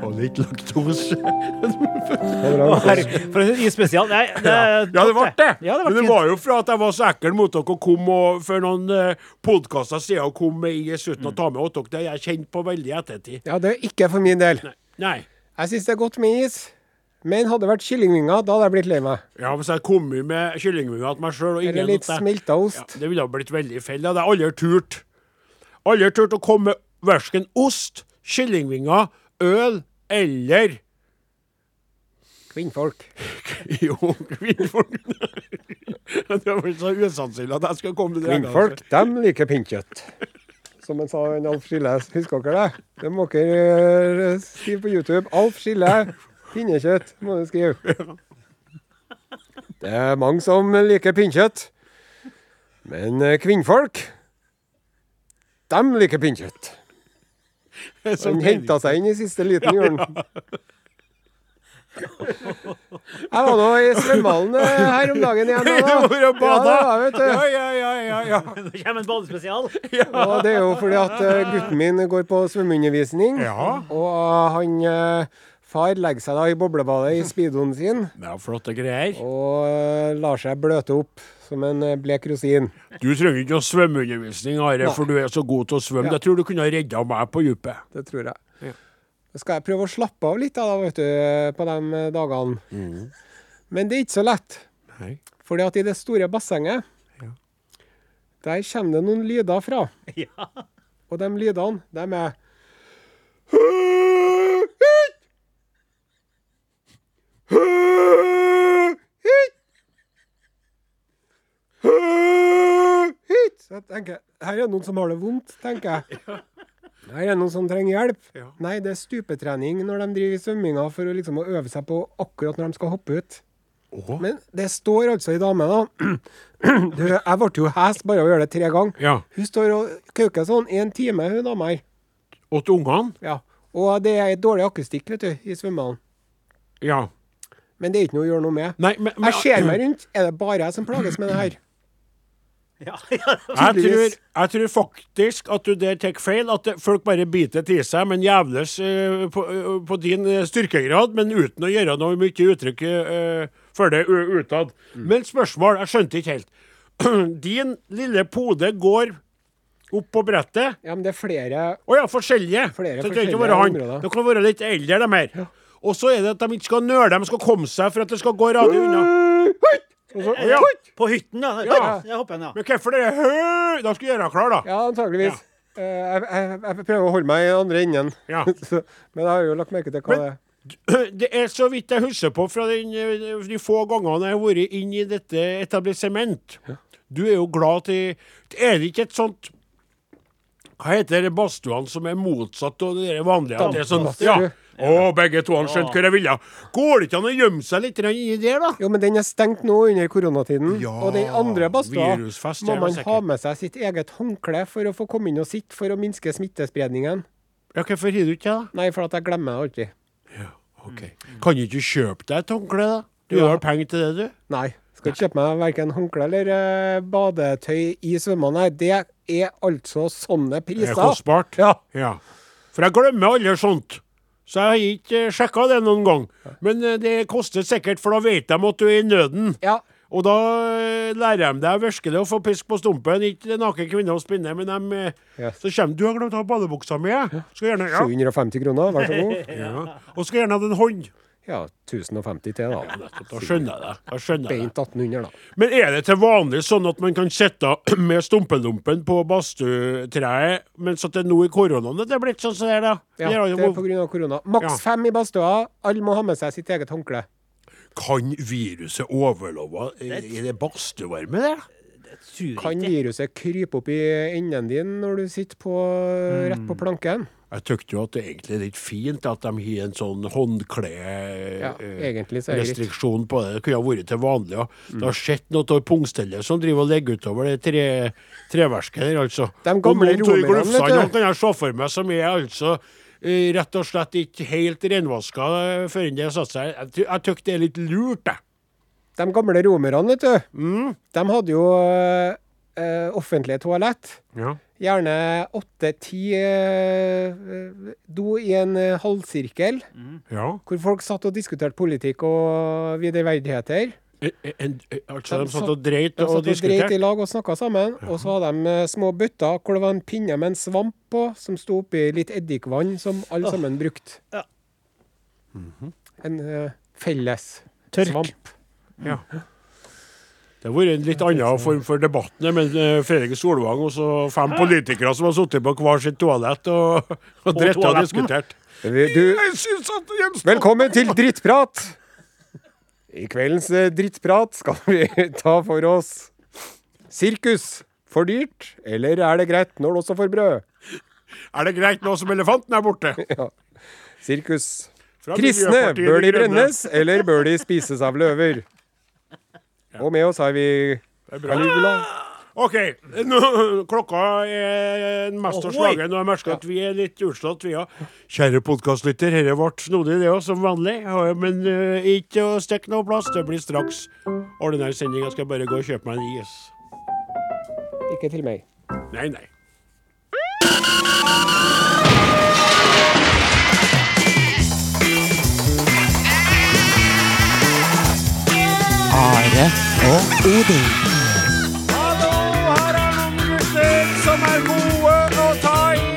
Og litt laktose. Herregud, For en isspesial. Nei, det er Ja, det ble topp, det. Ja, det Men ble det fint. var jo fra at jeg var så ekkel mot dere og kom og, for noen eh, podkaster siden og kom med is uten Mm. å ta med åt dere. Det har jeg kjent på veldig i ettertid. Ja, det er ikke for min del. Nei. Jeg syns det er godt med is, men hadde det vært kyllingvinger, da hadde jeg blitt lei meg. Ja, Hvis jeg kom jo med kyllingvinger til meg sjøl og ingen Eller litt at jeg- smelta ja, ost. Det ville ha blitt veldig feil. Det hadde jeg aldri turt. Aldri turt å komme med verken ost, kyllingvinger, øl eller Kvinnfolk. Jo, kvinnfolk Det var så usannsynlig at jeg skulle komme med det. altså. Kvinnfolk, dem liker pinnkjøtt. Som han sa, han Alf Skille. Husker dere det? Det må dere eh, skrive på YouTube. Alf Skille, pinnekjøtt, må du skrive. Det er mange som liker pinnkjøtt. Men eh, kvinnfolk, dem liker pinnkjøtt. Så Han mening- henta seg inn i siste liten, gjorde han. Jeg var nå i svømmehallen eh, her om dagen igjen. Det da. var jo bada. Ja, det var, Ja, vet du. ja, ja, ja, ja. Nå kommer en badespesial. Og det er jo fordi at eh, gutten min går på svømmeundervisning. Ja. Og eh, han eh, far legger seg da i boblebadet i speedoen sin Det er flotte greier. og eh, lar seg bløte opp som en eh, blek rosin. Du trenger ikke noe svømmeundervisning, Are, for du er så god til å svømme. Ja. Jeg tror du kunne ha redda meg på dypet. Det tror jeg. Da skal jeg prøve å slappe av litt da, da, vet du, på de eh, dagene. Men det er ikke så lett. Nei. Fordi at i det store bassenget, der kommer det noen lyder fra. Ja. Og de lydene, de er Så jeg tenker, her er det noen som har det vondt, tenker jeg. Her er det noen som trenger hjelp. Ja. Nei, det er stupetrening når de driver i svømminga for å liksom å øve seg på akkurat når de skal hoppe ut. Åh. Men det står altså ei dame, da. Du, jeg ble jo hes bare av å gjøre det tre ganger. Ja. Hun står og kauker sånn i en time, hun dama her. Og til ungene? Ja. Og det er dårlig akustikk, vet du, i svømmehallen. Ja. Men det er ikke noe å gjøre noe med. Nei, men, men jeg ser meg rundt. Er det bare jeg som plages med det her? Ja, ja. Jeg tror, Tydeligvis. jeg tror faktisk at du der tar feil, at det, folk bare biter til seg, men jævles eh, på, eh, på din eh, styrkegrad, men uten å gjøre noe mye uttrykk eh, for det u- utad. Mm. Men spørsmål, jeg skjønte ikke helt. Din lille pode går opp på brettet. Ja, men det er flere Å ja, forskjellige. Flere så det trenger ikke forskjellige være han. områder. Det kan være litt eldre, de her. Og så er det at de ikke skal nøle, de skal komme seg for at det skal gå radio unna. Og så- Ja. På hytten, da. Ja. Jeg hopper den, ja. Men hvorfor det? Høy! Da skal jeg gjøre deg klar, da. Ja, antageligvis. Eh, Jeg, jeg, jeg prøver å holde meg i andre enden, Ja. Så- men jeg har jo lagt merke til hva Men- det er. Det er så vidt jeg husker på fra den, eh, de få gangene jeg har vært inn i dette etablissement. Du er jo glad til Er det ikke et sånt Hva heter det badstuene som er motsatt av det der vanlige? At det er sånn, Dampbadstue. ja. Å, begge to han skjønte hvor jeg ville. Går det ikke an å gjemme seg litt grann inni der, da? Jo, men den er stengt nå under koronatiden. Ja, og den andre badstua virusfest, må jeg var man sikker. ha med seg sitt eget håndkle for å få komme inn og sitte, for å minske smittespredningen. Ja, Hvorfor har du ikke det? da? Nei, for at jeg glemmer det alltid. Ok. Kan du ikke kjøpe deg et håndkle, da? Du Ja. har penger til det, du? Nei. Skal ikke kjøpe meg verken håndkle eller eh, badetøy i svømmene. Nei, Det er altså sånne Det priser. er kostbart. Ja. Ja. For jeg glemmer aldri sånt. Så jeg har ikke eh, sjekka det noen gang. Men eh, det koster sikkert, for da vet de at du er i nøden. ja. Og da eh, lærer de deg virkelig å få pisk på stumpen. Ikke naken kvinne å spinne, men de, eh, Yes. så kommer du og har glemt å ha badebuksa mi. jeg. Skal gjerne, ja. 750 kroner, vær så god. ja. Og skal gjerne ha den hånd. Ja, 1050 til, da. Da skjønner jeg det. Da skjønner jeg det. Beint 1800, da. Men er det til vanlig sånn at man kan sitte med stumpelumpen på badstuetreet, mens at det nå i koronaen det er blitt sånn som det er, da? Ja, Eller har det er jo- pga. korona. Maks Ja. fem i badstua. Alle må ha med seg sitt eget håndkle. Kan viruset overleve i i det badstuevarme, det? Tror Kan ikke. viruset krype opp i enden din når du sitter på, Mm. rett på planken? Jeg tykte jo at det egentlig er litt fint at de har en sånn Ja, egentlig så er det greit. håndklerestriksjon på det. Det kunne ha vært til vanlig. Ja. Det har skjedd noe av pungstellet som driver og legger utover det tre, treverket der, altså. De gamle Og noen av romerne, glufsene vet du. nå kan jeg se for meg som er altså eh, rett og slett ikke helt renvaska eh, før enn det har satt seg. Jeg ty- Jeg tykker det er litt lurt, jeg. De gamle romerne, vet du, Mm. de hadde jo eh, eh, offentlige toalett. Ja. Gjerne åtte-ti eh, do i en eh, halvsirkel, Mm. ja. hvor folk satt og diskuterte politikk og videreverdigheter. En, Eh, en, altså, De de satt satt- og dreit De og satt og dreit diskuterte? i lag og snakka sammen, og så hadde de eh, små bøtter hvor det var en pinne med en svamp på, som sto oppi litt eddikvann, som alle sammen brukte. Ja. En eh, felles Tørk. svamp. Ja. Det har vært en litt annen form for debatten, men eh, Fredrik Solvang og så fem politikere som har sittet på hver sitt toalett og, og dritt og toaletten. diskutert. Du, Jeg synes at Jens- velkommen til drittprat! I kveldens eh, drittprat skal vi ta for oss sirkus. For dyrt, eller er det greit når det også får brød? Er det greit nå som elefanten er borte? Sirkus. Fra Kristne, Miljøpartiet De bør de Grønne. brennes, eller bør de spises av løver? Og med oss har vi Det er bra. Caligula. OK. Nå, klokka er mest av Ohoi. slagen, og jeg merker at vi er litt utslått, vi òg. Kjære podkastlytter, dette ble snodig, det òg, som vanlig. Ja, Men eh, ikke å stikke noe plass. Det blir straks ordinær sending. Jeg skal bare gå og kjøpe meg en is. Ikke til meg. Nei, nei. Are og Odin. Hallo, her er noen gutter som er gode å ta i.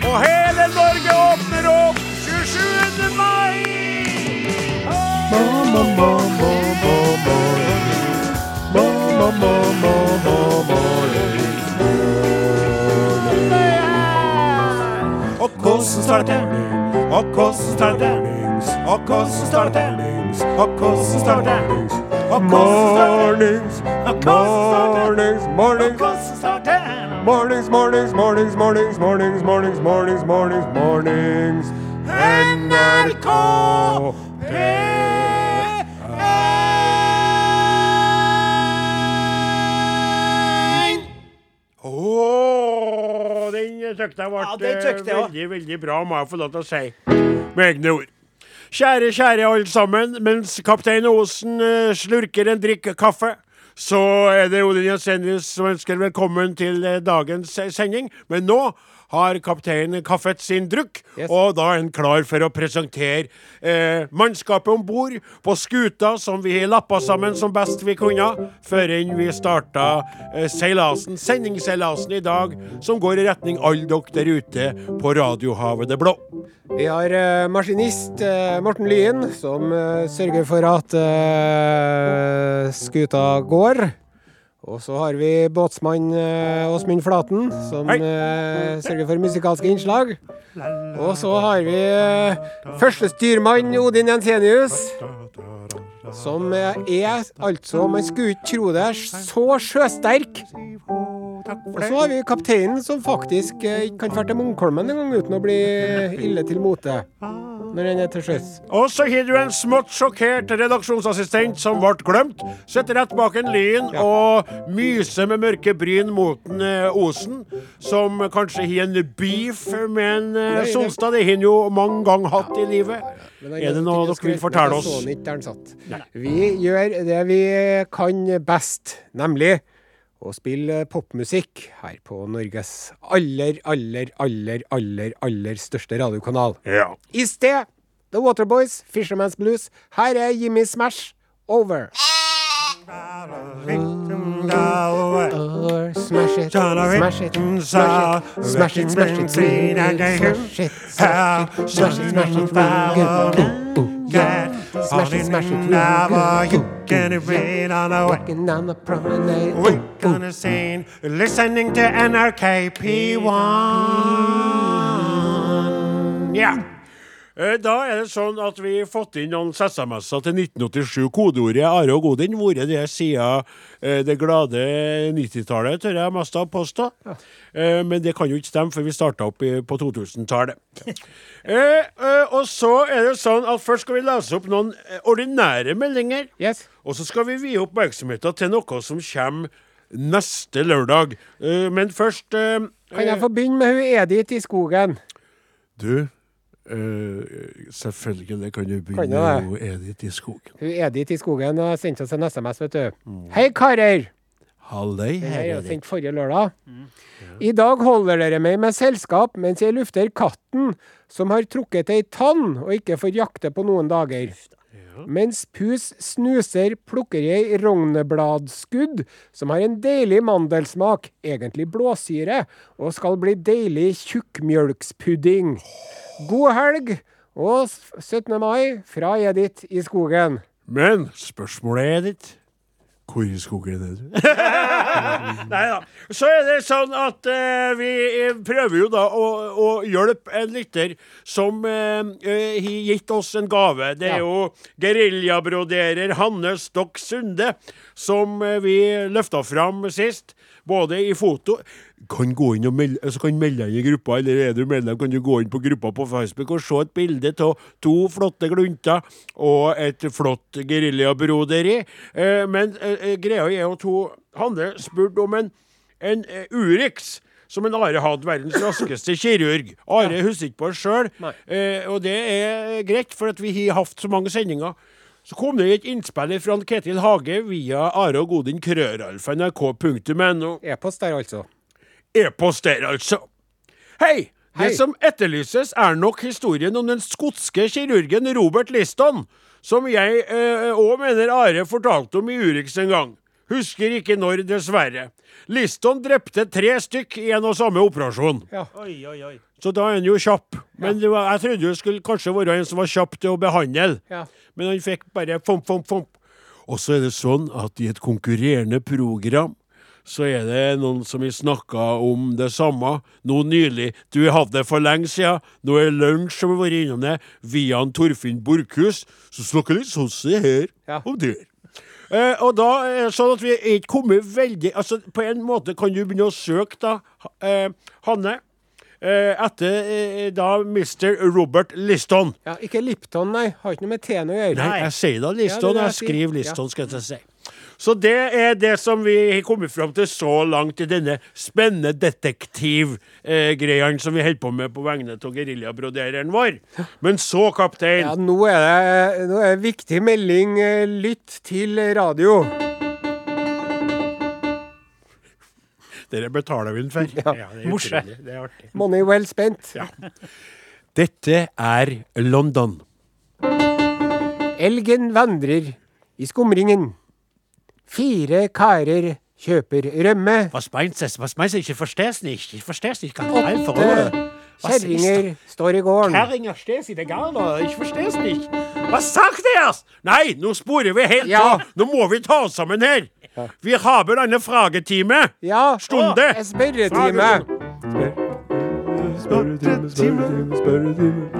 Og hele Norge åpner opp 27. mai. Og hvordan starter Og hvordan starter Og hvordan starter Og hvordan starter Og Mornings, hvordan starter mornings, hvordan starter mornings, mornings, mornings, mornings, mornings, mornings, mornings, mornings, mornings, mornings. NRK P1! Ååå, den tykte jeg ble Ja, den tykte jeg eh, også. veldig, veldig bra, må jeg få lov til å si med egne ord. Kjære, kjære alle sammen. Mens kaptein Osen eh, slurker en drikk kaffe, så er det Odin Jensenius som ønsker velkommen til eh, dagens eh, sending. Men nå har kaptein kaffet sin drukk, Yes. og da er han klar for å presentere eh, mannskapet om bord på skuta som vi lappa sammen som best vi kunne, før enn vi starta eh, seilasen, sendingsseilasen i dag, som går i retning alle dere der ute på radiohavet det blå. Vi har eh, maskinist eh, Morten Lyen, som eh, sørger for at eh, skuta går. Og så har vi båtsmann eh, Åsmund Flaten, som Hei. eh, sørger for musikalske innslag. Og så har vi eh, førstestyrmann Odin Jensenius, som eh, er altså Man skulle ikke tro det, så sjøsterk. Og så har vi kapteinen som faktisk eh, ikke kan dra til Munkholmen engang uten å bli eh, ille til mote. Når han er til sjøs. Og så har du en smått sjokkert redaksjonsassistent som ble glemt. Sitter rett bak en lyn og myser med mørke bryn mot en, eh, Osen, som kanskje har en beef med en eh, det- Solstad. Det har han jo mange ganger hatt i livet. Men han Er det noe dere ikke vil skrøt, fortelle men jeg så oss? han ikke der han satt. Vi gjør det vi kan best, nemlig å spille popmusikk her på Norges aller, aller, aller, aller, aller største radiokanal. Ja. I sted The Waterboys, Fisherman's Blues. Her er Jimmy Smash. Over. Over, Oh, Smash it, smash it, smash it, smash it, smash it, smash it, smash it, smash it, smash it, good, ooh, ooh, yeah. uh, Smash it, smash it, real good, ooh, ooh, yeah. Walking down the promenade, ooh, We're ooh, gonna sing, listening to NRK P1. Ja. Eh, Da er det sånn at vi har fått inn noen SMS-er til 1987. Kodeordet er Are og Godin. Vært det siden eh, det glade 90-tallet, tør jeg mest å påstå. Eh, Men det kan jo ikke stemme, for vi starta opp i- på 2000-tallet. Eh, eh, Og så er det sånn at først skal vi lese opp noen eh, ordinære meldinger. Yes. Og så skal vi vie oppmerksomheten til noe som kommer neste lørdag. Eh, men først eh, Kan jeg få begynne med hun Edith i skogen? Du, eh, selvfølgelig kan du begynne Kan jeg det? med Edith i skogen. Hun Edith i skogen har sendt oss en SMS, vet du. Hei, karer! Halløy, Den her her er jo er det. sendt forrige lørdag. I dag holder dere meg med selskap mens jeg lufter katten, som har trukket ei tann og ikke får jakte på noen dager. Mens pus snuser, plukker jeg rognebladskudd, som har en deilig mandelsmak, egentlig blåsyre, og skal bli deilig tjukkmjølkspudding. God helg, og s- 17. mai fra Edith i skogen. Men spørsmålet er ditt. Hvor i skogen er du? Nei da. Så er det sånn at eh, vi eh, prøver jo da å, å hjelpe en lytter som eh, eh, har gitt oss en gave. Det er Ja. jo geriljabroderer Hanne Stokk Sunde som eh, vi løfta fram sist. Både i foto kan gå inn og melde, så kan melde deg inn i gruppa, eller er du medlem, kan du gå inn på gruppa på Facebook og se et bilde av to flotte glunter og et flott geriljabroderi. Eh, men eh, eh, greia er jo to Hanne spurte om en en eh, Urix som en Are hadde, verdens raskeste kirurg. Are husker ikke på det sjøl, eh, og det er greit, for at vi har hatt så mange sendinger. Så kom det et innspill fra Ketil Hage via Are og Godin krøralfa nrk.no. E-post der, altså. E-post der, altså. Hei! Hei. Det som etterlyses, er nok historien om den skotske kirurgen Robert Liston, som jeg òg mener Are fortalte om i Urix en gang. Husker ikke når, dessverre. Liston drepte tre stykk i en og samme operasjon. Oi, oi, oi. Så da er han jo kjapp. Men det var, jeg trodde det skulle kanskje være en som var kjapp til å behandle. Ja. Men han fikk bare fomp, fomp, fomp. Og så er det sånn at i et konkurrerende program så er det noen som har snakka om det samme nå nylig. Du hadde det for lenge siden. Nå er det lunsj som har vært innom det, via en Torfinn Borchhus, som snakker litt sånn som det her Ja. om det. Eh, og da er det sånn at vi er ikke kommet veldig Altså, på en måte kan du begynne å søke, da, eh, Hanne. Eh, etter eh, da Mr. Robert Liston. Ja, ikke Lipton, nei. Har ikke noe med teen å gjøre. Nei, jeg sier da Liston. Ja, det er det jeg jeg sier. skriver Liston, skal jeg si. Så det er det som vi har kommet fram til så langt i denne spennende detektivgreia som vi holder på med på vegne av geriljabrodereren vår. Men så, kaptein Ja, nå er det nå er det viktig melding. eh, Lytt til radio. Dere betaler vi den for. Ja, det er Morse. utrolig. Det er artig. Money well spent. Dette er London. Elgen vandrer i skumringen. Fire karer kjøper rømme. Was meinst du? Was meinst du? Ich versteh's nicht. Ich versteh's nicht. Ganz einfach, Åtte oder? Was ist kjerringer står i gården. Herringer stehst i det garnet. Ich versteh's nicht. Hva sagt dere? Nei, nå sporer vi helt Ja. av. Nå må vi ta oss sammen her. Vi har vel denne fragetime. Ja, Stunde. en spørretime. Spørretime, spørretime, spørretime.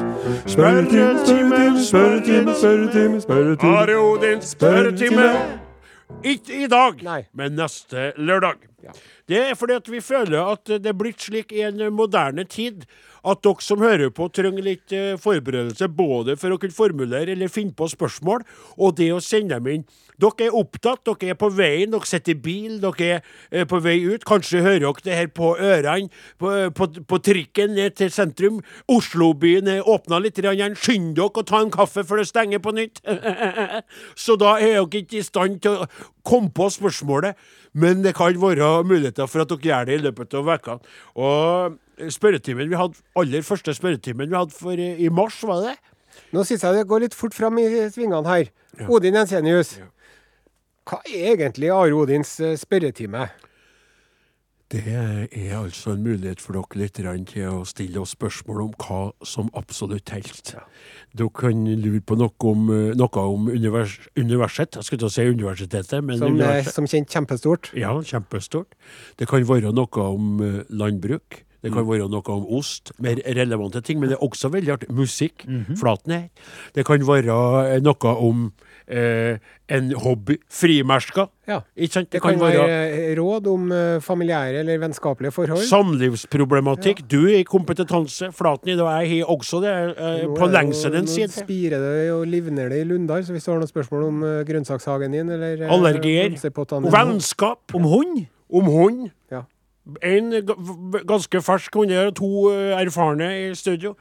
Spørretime, spørretime, spørretime, spørretime, spørretime. Are Odins spørretime. Ikke i dag, Nei. men neste lørdag. Det er fordi at vi føler at det er blitt slik i en moderne tid at dere som hører på, trenger litt eh, forberedelse både for å kunne formulere eller finne på spørsmål, og det å sende dem inn. Dere er opptatt, dere er på veien, dere sitter i bil, dere er eh, på vei ut. Kanskje hører dere det her på ørene, på, på, på trikken ned til sentrum. Oslobyen er åpna litt grann igjen. Skynd dere å ta en kaffe før det stenger på nytt. Så da er dere ikke i stand til å komme på spørsmålet, men det kan være muligheter for at dere gjør det i løpet av veka. Og spørretimen vi hadde, aller første spørretimen vi hadde for eh, i mars, var det? Nå syns jeg det går litt fort fram i svingene her. Odin Jensenius. Hva er egentlig Are Odins eh, spørretime? Det er altså en mulighet for dere litt grann til å stille oss spørsmål om hva som absolutt helst. Dere kan lure på noe om, eh, noe om univers, universet. Jeg skulle til å si universitetet, men Som er universet. som kjent kjempestort. Ja, kjempestort. Det kan være noe om eh, landbruk. Det Mm. kan være noe om ost, mer relevante ting, men det er også veldig artig. Musikk, Mhm. flaten her. Det kan være eh, noe om eh, en hobby, frimersker. Ja. Ikke sant? Det kan være eh, råd om eh, familiære eller vennskapelige forhold. Samlivsproblematikk. Du er i kompetanse. Flaten i dag, jeg har også det eh, Nå på er det jo- lengselens nå side. spirer det og livner det i Lundar, så hvis du har noen spørsmål om eh, grønnsakshagen din eller eh, Allergier. blomsterpottene dine- Vennskap. Om hund? Om hund. Ja. En ga- v- ganske fersk hund og to eh, erfarne i studio.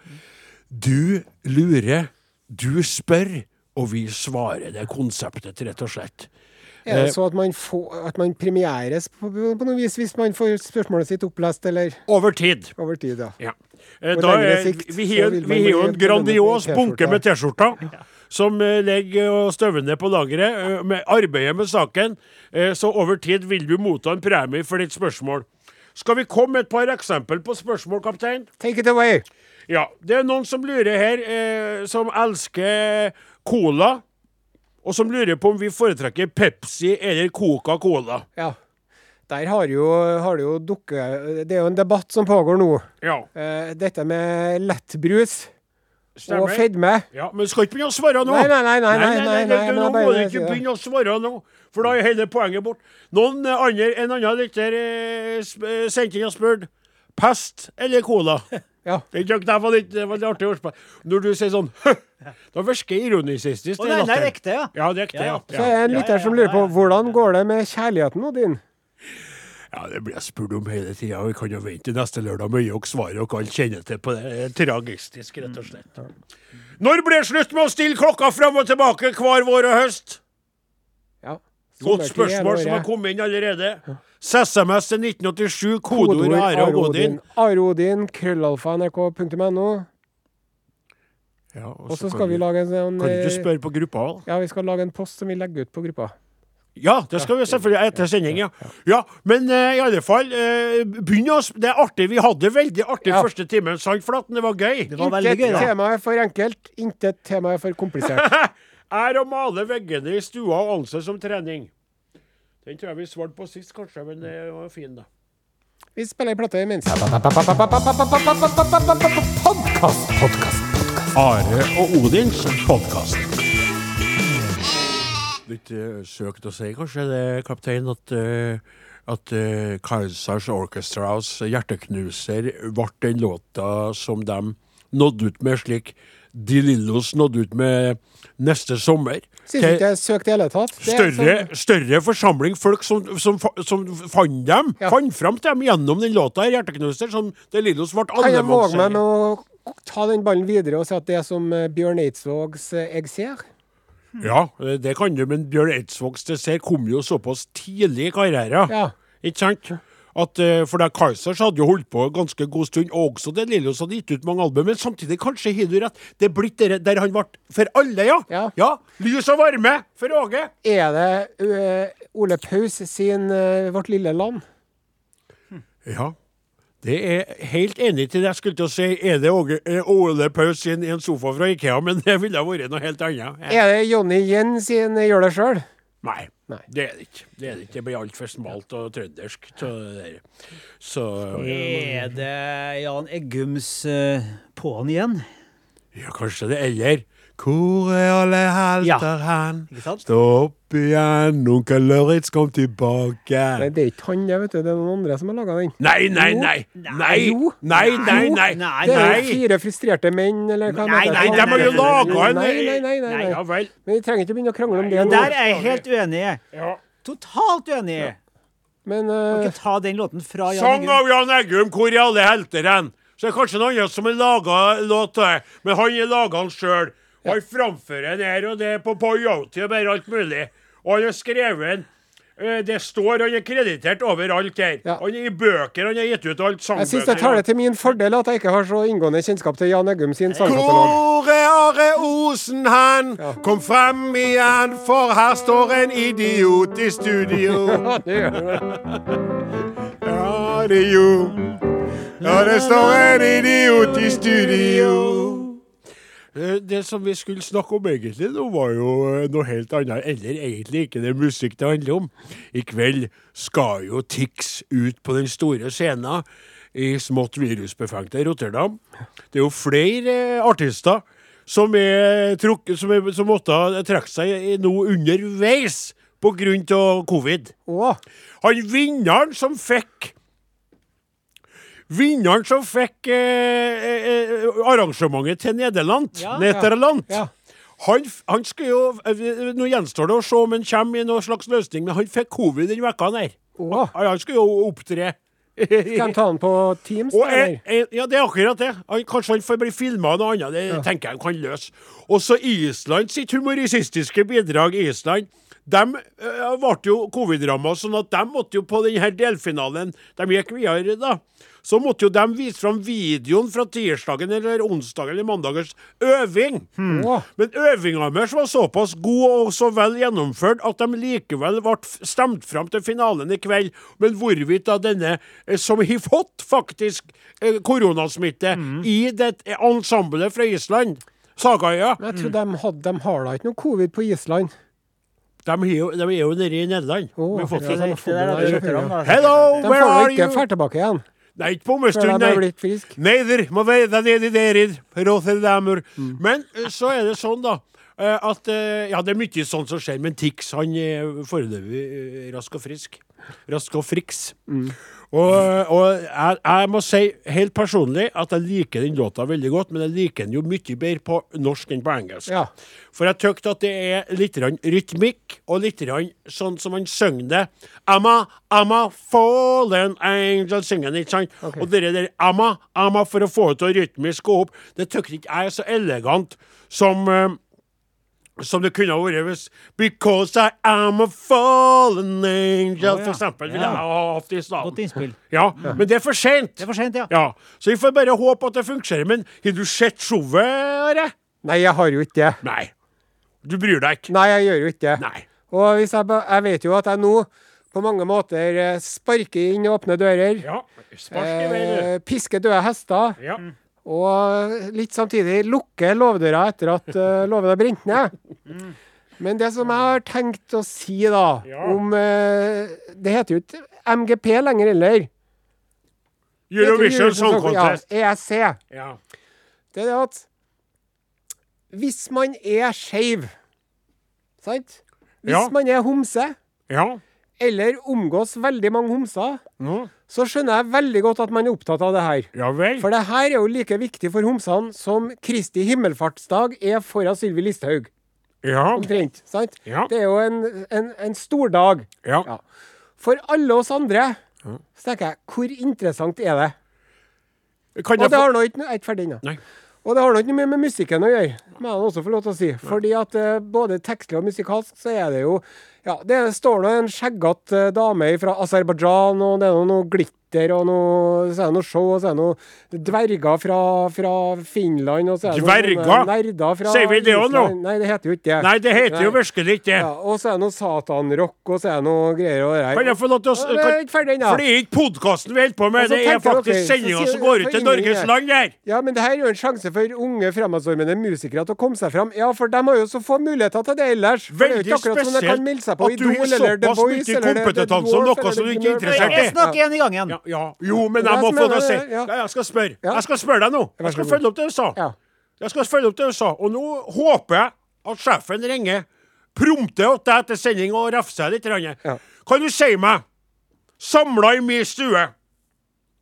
Du lurer, du spør, og vi svarer. Det er konseptet, rett og slett. Er det så at man, får, at man premieres på, på noe vis hvis man får spørsmålet sitt opplest eller Over tid. over tid, ja? Ja. Eh, På Da lengre er, sikt vi så har vil man vi har jo bli en belønnet med grandios T-skjorta. bunke med T-skjorta. Som eh, legger og støver ned på lageret. eh, Med arbeidet med saken. eh, Så over tid vil du motta en premie for ditt spørsmål. Skal vi komme med et par eksempel på spørsmål, kaptein? Take it away! Ja. Det er noen som lurer her, eh, som elsker cola. Og som lurer på om vi foretrekker Pepsi eller Coca-Cola. Ja. Der har jo, har det jo dukket Det er jo en debatt som pågår nå. Ja, Eh, dette med lettbrus og stemmer. fedme. Ja, Men du skal ikke begynne å svare nå! Nei, nei, nei, nei, nei, nei, det- nei, det- nei, Nå bare må du si ikke det. begynne å svare nå, for da er hele poenget bort. Noen eh, andre, En annen lytter eh, sp- eh, sendte inn og spurte pest eller cola. Ja. Det er ikke- det var litt, det var litt artig å spørre. Når du sier sånn da virker det ironisistisk. Å nei, nei, det er latteren. ekte, ja. Ja, det er ekte, ja. Ja, Så er det en Ja, ja, lytter som ja, lurer ja, på ja. hvordan går det med kjærligheten, Odin? Ja, det blir jeg spurt om hele tida. Vi kan jo vente til neste lørdag med å gi dere svaret dere alle kjenner til på det. det er tragistisk, rett og slett. Mm. Når ble det slutt med å stille klokka fram og tilbake hver vår og høst? Ja. Sånn Godt Sommertid spørsmål hele som har året. kommet inn allerede. SMS til 1987, kodeord Are og Odin. Are Odin, krøllalfa nrk.no. Ja, Og så skal vi lage en sånn Kan eh, du spørre på gruppa òg? Ja, vi skal lage en post som vi legger ut på gruppa. Ja, det skal vi selvfølgelig etter sending, ja. ja men eh, i alle fall, eh, begynn å sp- Det er artig. Vi hadde det veldig artig Ja. første timen. Sant, Flaten? Det var gøy. Det var veldig Intet gøy, da. tema er for enkelt, intet tema er for komplisert. Er å male veggene i stua og anse som trening. Den tror jeg vi svarte på sist, kanskje, men det var fin, da. Vi spiller en plate imens. Are og Odins podkast. Litt eh, søkt å si, kanskje, det, kaptein, at, eh, at eh, Kaisers Orchestras Hjerteknuser ble den låta som de nådde ut med, slik De Lillos nådde ut med neste sommer. Syns ikke jeg er søkt i hele tatt. Det er Større, sånn- større forsamling folk som, som, fa- som fant dem, Ja. fant fram til dem gjennom den låta her, 'Hjerteknuser', som De Lillos ble Kan jeg våge meg med allemannsseier. å ta den ballen videre og si at det er som eh, Bjørn Eidsvågs eh, Eg ser? Ja, eh, det kan du, men Bjørn Eidsvågs dessert kom jo såpass tidlig i karrieren. Ja. Ikke sant? At, eh, for det Kaizers hadde jo holdt på ganske god stund, og også det Lillos hadde gitt ut mange album. Men samtidig, kanskje har du rett, det er blitt der, der han ble for alle, ja. Ja. Lys og varme for Åge. Er det eh, Ole Paus sin eh, Vårt lille land? Ja. Det er helt enig til det. Jeg skulle til å si er det Åge, eh, Ole Paus sin En sofa fra Ikea, men det ville ha vært noe helt annet. Eh, Er det Jonny Yen sin eh, Gjør det sjøl? Nei. Nei. Det er det ikke. Det er det ikke. Det blir altfor smalt og trøndersk. Så, det der. så Er det Jan Eggums eh, på'n igjen? ja, kanskje det. Eller Hvor er alle helter hen? Ikke sant? Stå opp igjen, onkel Lauritz kom tilbake. Nei, det er ikke han, jeg vet du. Det er noen andre som har laga den. Nei, nei, nei! Nei, Jo. nei, nei! nei, Nei, Det er nei. jo fire frustrerte menn, eller hva Nei, Nei, heter nei, de har jo nei, nei, laga en Nei, nei, nei. nei, nei. Ja vel. Men vi trenger ikke begynne å krangle om det Ja, nå. der er jeg helt uenig. Totalt uenig. Men Kan eh, ikke ta den låten fra Jan Sang Eggum. av Jan Eggum 'Hvor er alle helter hen?' Så det er kanskje noen andre som har laga låt til det, men han har laga den sjøl. Han framfører den her og der på Boyouty og bare alt mulig. Og han har skrevet den. Eh, Det står han er kreditert overalt her. Ja. Han er i bøker, han har gitt ut alt sangbøker. jeg syns det tar det til min fordel at jeg ikke har så inngående kjennskap til Jan Eggum sin sangkatalog. Hvor er Are Osen hen? Kom frem igjen, for her står en idiot i studio. Ja, det gjør det. Ja, det er jo Ja, det står en idiot i studio. Eh, Det som vi skulle snakke om egentlig nå, var jo eh, noe helt annet. Eller egentlig ikke det musikk det handler om. I kveld skal jo Tix ut på den store scenen i smått virusbefengte Rotterdam. Det er jo flere eh, artister som, er trukk, som, er, som måtte trekke seg i- nå underveis pga. covid. Å, Han vinneren som fikk Vinneren som fikk eh, eh, eh, arrangementet til Nederland, Nederland. ja. Han, f- han skulle jo eh, Nå gjenstår det å se om han kommer i noen slags løsning, men han fikk covid den vekka der. å. Han han skulle jo opptre. Skal de ta den på Teams, Og eller? en- en- ja, det er akkurat det. Han, kanskje han får bli filma noe annet. Det tenker jeg han kan løse. Og så Island sitt humoristiske bidrag. Island. De eh, ble jo covid-ramma, sånn at de måtte jo på denne delfinalen De gikk videre, da. Så måtte jo de vise fram videoen fra tirsdagen eller onsdagen eller mandagens øving. Å. Men øvinga deres var såpass god og så vel gjennomført at de likevel ble f- stemt fram til finalen i kveld. Men hvorvidt da denne eh, som har fått faktisk eh, koronasmitte i det eh, ensemblet fra Island, Sagaøya Men jeg tror de, hadde, de har da ikke noe covid på Island. de, har jo- de er jo nede i Nederland. Å, Men ja, fortsatt- de Det der er det har- Rotterdam, da. Hello, De får where da are ikke you? dra tilbake igjen Nei, ikke på om en før stund, de er nei. blitt friske. Neider, må være nedi derid, Rotherdamer. Men eh, så er det sånn, da. eh, At eh, Ja, det er mye sånn som skjer, men Tix han er foreløpig eh, rask og frisk. Rask og friks. Og, og jeg, jeg må si helt personlig at jeg liker den låta veldig godt, men jeg liker den jo mye bedre på norsk enn på engelsk. Ja. For jeg tykt at det er litt grann rytmikk, og litt grann sånn som han synger det. I'm a, I'm a fallen angel, synger han, ikke sant? Og det der I'm a, I'm a, for å få det til å rytmisk gå opp, det tykt ikke jeg er så elegant som eh, som det kunne ha vært hvis Because I am a fallen angel, Å, ja. for eksempel. Ville Ja. jeg ha hatt i staden. Godt innspill. Ja, men det er for seint. Det er for sent, ja. Ja, så vi får bare håpe at det fungerer. Men har du sett showet, Are? Nei, jeg har jo ikke det. Nei. Du bryr deg ikke? Nei, jeg gjør jo ikke det. Nei. Og hvis jeg, ba- jeg vet jo at jeg nå på mange måter eh, sparker inn åpne dører. Ja, spark i vei, du. eh, pisker døde hester. Ja. Og litt samtidig lukker låvedøra etter at uh, låven har brent ned. Men det som jeg har tenkt å si, da, Ja. om eh, Det heter jo ikke MGP lenger heller. Det heter Eurovision Song Contest. Ja, ESC. Ja. Det er det at hvis man er skeiv, sant? Hvis Ja. man er homse, Ja. eller omgås veldig mange homser, Ja. så skjønner jeg veldig godt at man er opptatt av det her. ja vel. For det her er jo like viktig for homsene som Kristi himmelfartsdag er for Sylvi Listhaug. Ja. Omtrent. sant? Ja. Det er jo en, en, en stor dag. ja. Ja. For alle oss andre, så tenker jeg, hvor interessant er det? Kan Og jeg det få har nå ikke Jeg er ikke ferdig ennå. Nei. Og det har nok ikke mye med musikken å gjøre, må jeg også få lov til å si. Fordi at eh, både tekstlig og musikalsk så er det jo Ja, det står nå en skjeggete eh, dame fra Aserbajdsjan, og det er nå noe glitter og noe Så er det noe show, og så er det noe dverger fra, fra Finland, og så er det Dverger? noen nerder fra Sier vi det også nå? Island. Nei, det heter jo ikke det. Nei, det heter jo Nei. virkelig ikke det. Ja, og så er det noe satanrock, og så er det noe greier og greier. Kan jeg få lov til å s- Ja, det er kan- ikke ferdig ennå. For det er ikke podkasten vi holder på med, Altså, det er tenker dere, faktisk så sier- sendinga som går ut til for ingen Norges her. land her. Ja, men det her er jo en sjanse for unge fremadstormende musikere til å komme seg fram. Ja, for de har jo så få muligheter til det ellers. For det er jo Veldig ikke akkurat som de kan melde spesielt seg på at du Idol har eller The såpass Voice mye eller The kompetanse om Dwarf noe eller som du The ikke er Nerve. interessert i. Jeg snakker én i gangen. Ja, ja. Jo, men jeg Det må som få er lov til å si det, ja. Ja, Jeg skal spørre. Ja. Jeg skal spørre deg nå. vær Jeg så skal god. følge opp det du sa. Ja. Jeg skal følge opp det du sa. Og nå håper jeg at sjefen ringer, prompter åt deg etter sending og refser deg litt. grann. Ja. Kan du si meg, samla i min stue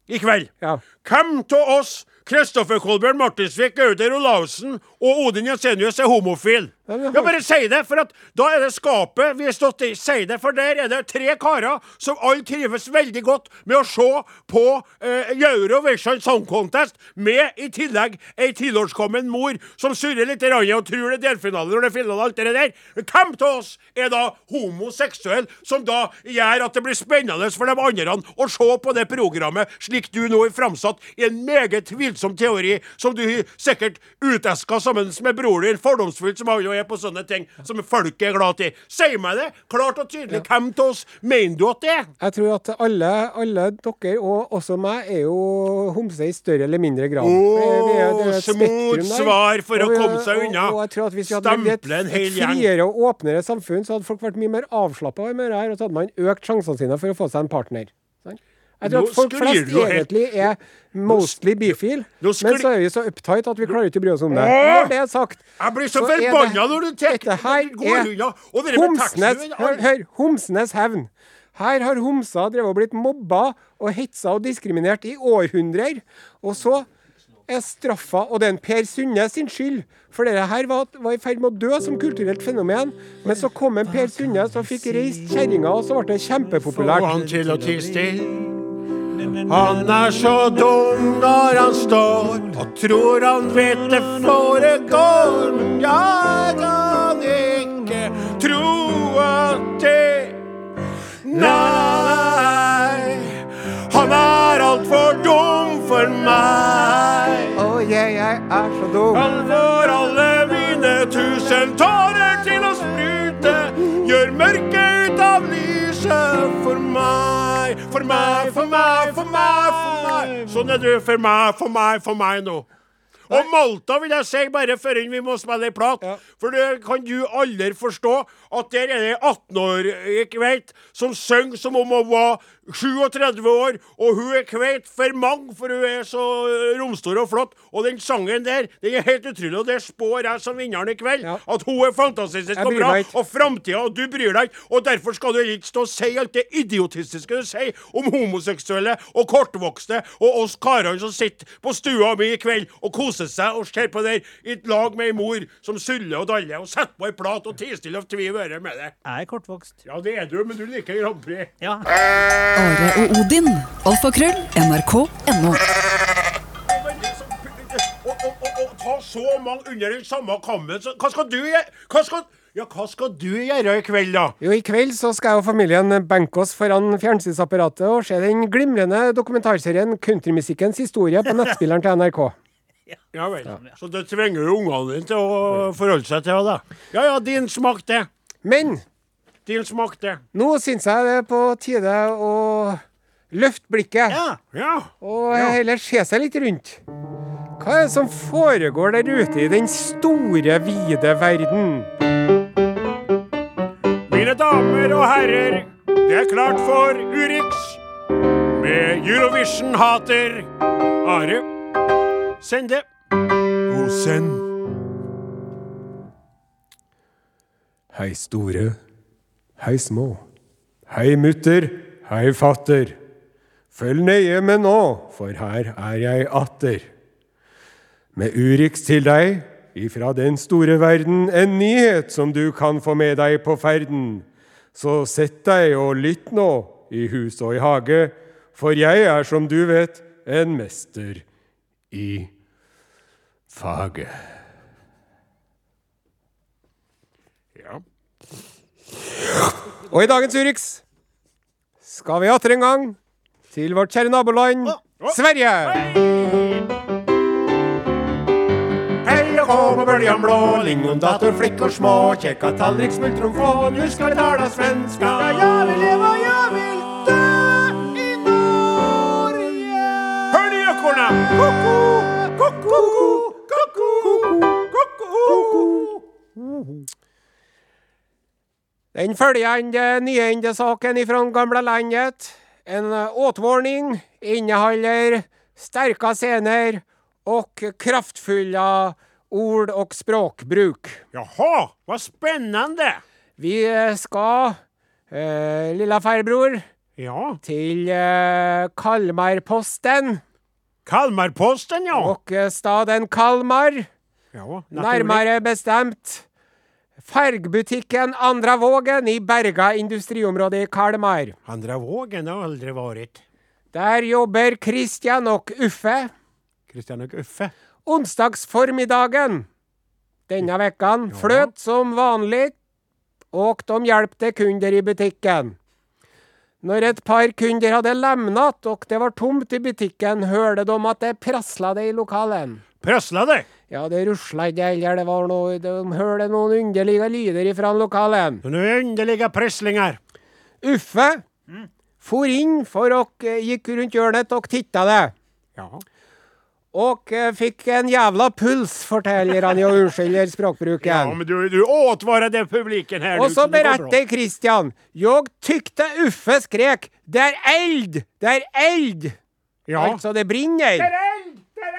i kveld, Ja. hvem av oss Kristoffer Kolbjørn Martinsvik, Gauder Olavsen og Odin Jensenius er homofil. men han- Ja, bare si det, for at da er det skapet vi har stått i. Si det, for der er det tre karer som alle trives veldig godt med å se på eh, Eurovision Song Contest, med i tillegg ei tilårskommen mor som surrer litt i randet og tror det er delfinale når det er finale og alt det der. Men hvem av oss er da homoseksuell, som da gjør at det blir spennende for de andre å se på det programmet slik du nå har framsatt i en meget tvilsom teori, som du har sikkert uteska sammen med broren din, fordomsfullt som han jo er på sånne ting som folket er glad i. Si meg det klart og tydelig. Hvem av oss mener du at det er? Jeg tror at alle, alle dere, og også meg, er jo homse i større eller mindre grad. Åh, Vi er- det er et smooth spektrum der. svar for å Og vi- komme seg unna. Og, og jeg tror at hvis vi hadde levd i et, Stemple en hel et gjeng. friere og åpnere samfunn, så hadde folk vært mye mer avslappa med det her, og så hadde man økt sjansene sine for å få seg en partner. Sant? Jeg tror Nå at folk sklir flest du helt- egentlig er mostly bifil, men nå sklir- så er vi så uptight at vi klarer ikke å bry oss om det. Åh! Når det er sagt Jeg blir så er det- forbanna når du tek- Dette her når du går er unna, og det der med Homsnes teksten, Hør, hør! Homsnes hevn. Her har homser drevet og blitt mobba og hetsa og diskriminert i århundrer. Og så er straffa, og det er en Per Sunde sin skyld, for dette her var, var i ferd med å dø som kulturelt fenomen. Men så kom en Per Sunde som fikk reist kjerringa, og så ble det Få kjempepopulært. han til å tie stille. Han er så dum når han står og tror han vet det foregår. Men jeg kan ikke tro at det Nei, han er altfor dum for meg. Å, jeg, jeg er så dum. Han får alle mine tusen tårer til å sprute. Gjør mørket ut av lyset for meg, for meg, for meg, for meg. for meg Sånn er du for meg, for meg, for meg nå. Og Malta vil jeg si bare før vi må spille ei plat, for det kan du aldri forstå at der er det ei 18-årig kveit som synger som om hun var 37 år, og hun er kveit for mange, for hun er så eh, romstor og flott. Og den sangen der, den er helt utrolig, og det spår jeg som vinneren i kveld. Ja. At hun er fantastisk Jeg og bryr bra, meg ikke. og framtida, og du bryr deg ikke. Og derfor skal du ikke stå og si alt det idiotistiske du sier om homoseksuelle og kortvokste og oss karene som sitter på stua mi i kveld og koser seg og ser på der i et lag med ei mor som suller og daller og setter på ei plat og tier stille og tviv øret med det. Jeg er kortvokst. Ja, det er du, men du liker Grand Prix. Ja. Are og Odin. Alfakrøll. NRK.no. veldig som- sånn Å, å, å, å ta så mange under den samme kammen så, Hva skal du gjøre? Hva skal, ja, hva skal du gjøre i kveld, da? Jo, I kveld så skal jeg og familien benke oss foran fjernsynsapparatet og se den glimrende dokumentarserien 'Countrymusikkens historie' på nettspilleren til NRK. Ja vel. Så det tvinger jo ungene dine til å forholde seg til det. da. Ja ja, din smak det. Men Din smak det. nå syns jeg det er på tide å løfte blikket Ja. Ja. og heller se seg litt rundt. Hva er det som foregår der ute i den store, vide verden? Mine damer og herrer, det er klart for Urix med Eurovision-hater Are. Send det. Og send. Hei store, hei små. Hei mutter, hei fatter. Følg nøye med nå, for her er jeg atter. Med Urix til deg, ifra den store verden, en nyhet som du kan få med deg på ferden. Så sett deg og lytt nå, i hus og i hage, for jeg er, som du vet, en mester i faget. Ja. Og i dagens Urix skal vi atter en gang til vårt kjære naboland Sverige. Hei og hå på bøljan blå, lingondator, flickor små, kjekka tallrik, smultron få, nu skal vi tala svenska. Ja, jeg vil leve, jeg vil dø i Norge. Hør de jokkorna! Ko-ko, ko-ko, ko-ko, ko-ko. Den følgende nyhendesaken ifra gamle landet, en eh, åtvarning, inneholder sterke scener og kraftfulle ord og språkbruk. Jaha, vad spännande! Vi skal, eh, lilla farbror, Ja, til eh, Kalmarposten Kalmarposten ja. og eh, staden Kalmar, ja nærmere bestemt Fargbutikken Andra Vågen i Berga industriområde i Kalmar. Andra vågen har aldrig varit. Der jobber Kristian og Uffe. Christian och Uffe. Onsdagsformiddagen denne vekkan fløt som vanlig, og de hjalp til kunder i butikken. Når et par kunder hadde lemnat og det var tomt i butikken, hørte de at det prasla det i lokalen. Prösslade! Ja, det rusla ikke heller, det var noe De hørte noen underlige lyder ifra lokalen. Nu är underliga presslingar. Uffe Mm. for inn for å gikk rundt hjørnet og titta det. Ja. Og eh, fikk en jævla puls, forteller han jo, Ja, unnskylder språkbruken. men du, du åtvarade publiken här Og nu, så det går bra. beretter Christian. Jeg tykte Uffe skrek 'Det er eld! Det er eld!' Ja. Altså, det brenner. Det er eld! Det er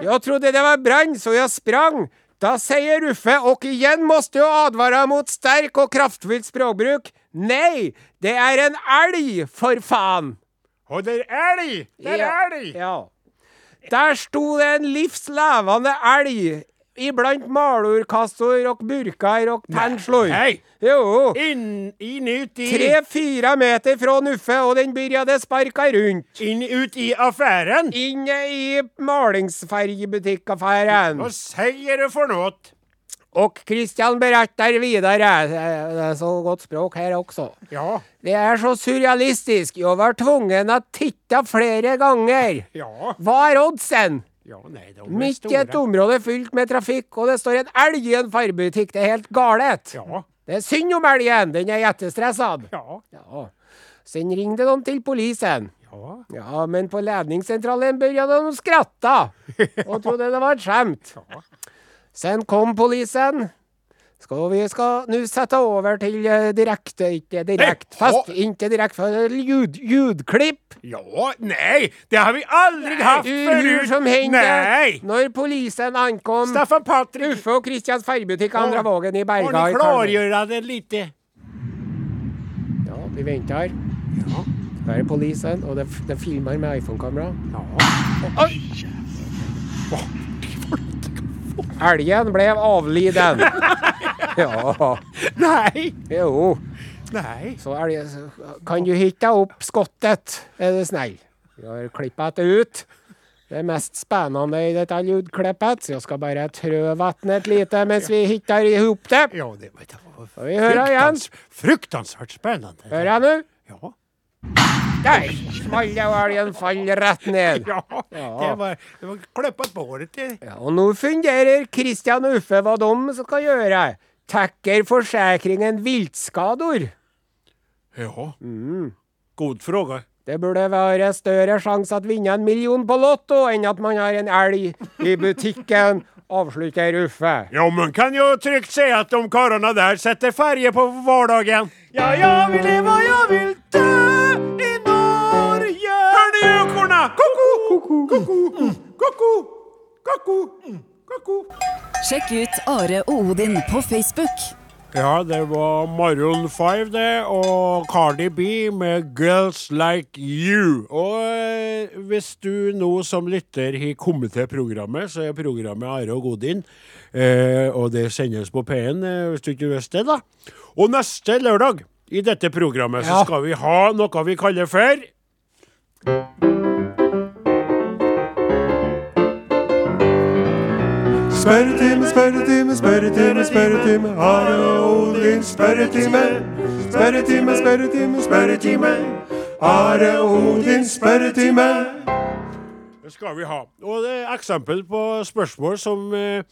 eld! Jeg trodde det var brann, så jeg sprang. Da sier Uffe, og igjen måste jeg advare mot sterk og kraftfullt språkbruk, nei, det er en elg, for faen! Och det är älg! Där Ja, är älg! Ja. Der sto det en livslevende elg iblant malurkasser og burker og penslor. Nei. Jo. In, inuti... Tre-fire meter fra Nuffe, og den byrja det sparka rundt. In, ut i affären! Inne i malingsfergebutikkaffæren. Vad säger du för något? Og Christian beretter videre. Eh, Det er så godt språk her også. Ja. Det er så surrealistisk. Jeg var tvungen å titte flere ganger. Ja. Hva er oddsen? Ja, nej, de är Midt i stora. et område fylt med trafikk, og det står en elg i en fargebutikk. Det er helt galet. Ja. Det er synd om elgen. Den er jettestressad. Ja. Ja. Sen ringde de til polisen. Ja. Ja, men på ledningssentralen begynte de å skratte og trodde det var et skjemt. Sen kom polisen. Skal vi skal nå sette over til eh, direkte, ikke direkte, Nei, fast, ha- ikke direkte, for ljud, ljudklipp. Ja, nej, det har vi aldrig haft Ur förut! som hendte nej! når polisen ankom. Staffan Patrik, Uffe og Kristians fergebutikk Andra Vågen i Berga. har i ni Kalmar. klargörande lite? Ja, vi venter. Ja. Der er polisen, og det, det filmer med iPhone-kamera. Oi! Elgen ble avliden. Ja, Nej, jo. nej. Så elgen så- Kan du hitte opp skottet, er du snill? Vi har klippet det ut. Det mest spennende i dette ljudklippet. Så jeg skal bare trø vannet lite mens vi hitter i hop det. Ja, det vet jag. Og vi hører igjen. Fruktans, fruktansvärt spännande. Hører jeg nå? Ja. Der smalt det, og elgen faller rett ned. Ja, det var, det var klöppat på håret. Det. Ja, og nå funderer Kristian og Uffe hva de skal gjøre. Takker forsikringen viltskador. Ja. Mm. God fråga. Det burde være større sjanse at vinne en million på Lotto enn at man har en elg i butikken, avslutter Uffe. Ja, man kan ju tryggt säga att de karlarna där sätter färger på vardagen. Ja, jag vill leva, jag vill dö i Norge! Hör ni ekorna? Koko, koko, Mm. koko, koko, koko, Mm. koko. Sjekk ut Are og Odin på Facebook. Ja, det var Maroon 5 det, og Cardi B med 'Girls Like You'. Og eh, hvis du nå som lytter har kommet til programmet, så er programmet Are og Godin. Eh, og det sendes på P1, eh, hvis du ikke visste det, da. Og neste lørdag i dette programmet så Ja. skal vi ha noe vi kaller for Spørretime, spørretime, spørretime, spørretime. Are og Odin, spørretime. Spørretime, spørretime, spørretime. Are og Odin, spørretime. Det skal vi ha. Og det er eksempel på spørsmål som eh,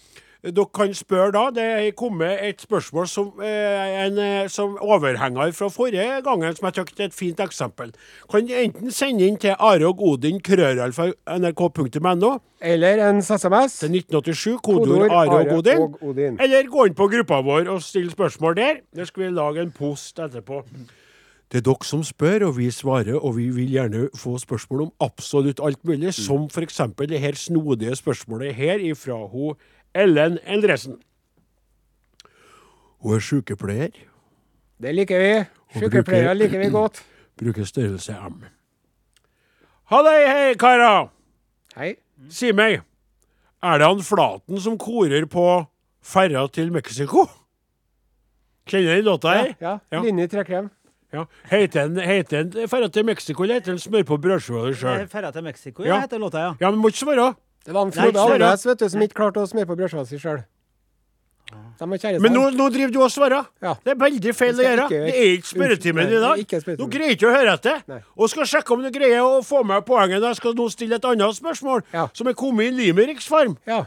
dere kan spørre da. Det er kommet et spørsmål som, eh, en, eh, som overhenger fra forrige gangen, som jeg syns er et fint eksempel. Kan enten sende inn til areogodin.krøralfa.nrk.no Eller en SMS. til 1987, kodeord Kodeord Are og Are Godin. og Odin. Eller gå inn på gruppa vår og stille spørsmål der. Der skal vi lage en post etterpå. Det er dere som spør, og vi svarer, og vi vil gjerne få spørsmål om absolutt alt mulig, som f.eks. det her snodige spørsmålet her ifra ho Ellen Endresen. Hun er sykepleier, Det liker vi. Og Sykepleiere bruker- liker vi godt. bruker størrelse M. Halløy, hei, karer! Hei. Si meg, er det han Flaten som korer på ferja til Mexico? Kjenner du den låta her? Ja. Ja. Linni Trekrem. Ja. Heter den- heter den ferja til Mexico, eller heter den smør på brødskiva di sjøl? Ferda til Mexico, Ja. ja, heter låta, ja. Ja, men må ikke svare. Det var en Nei, Frode ikke det. Alves vet du, som ikke klarte å smøre på brødskiva si sjøl. De har kjæreste. Men nå, nå driver du og svarer. Ja. Det er veldig feil å Det skal gjøre. ikke- Det er ikke spørretimen i Unnskyld, nei, dag. det er ikke Du spørretimen. greier ikke å høre etter. Nei. Og skal sjekke om du greier å få med poenget. Jeg skal nå stille et annet spørsmål, Ja. som er kommet i Limericks farm. Ja.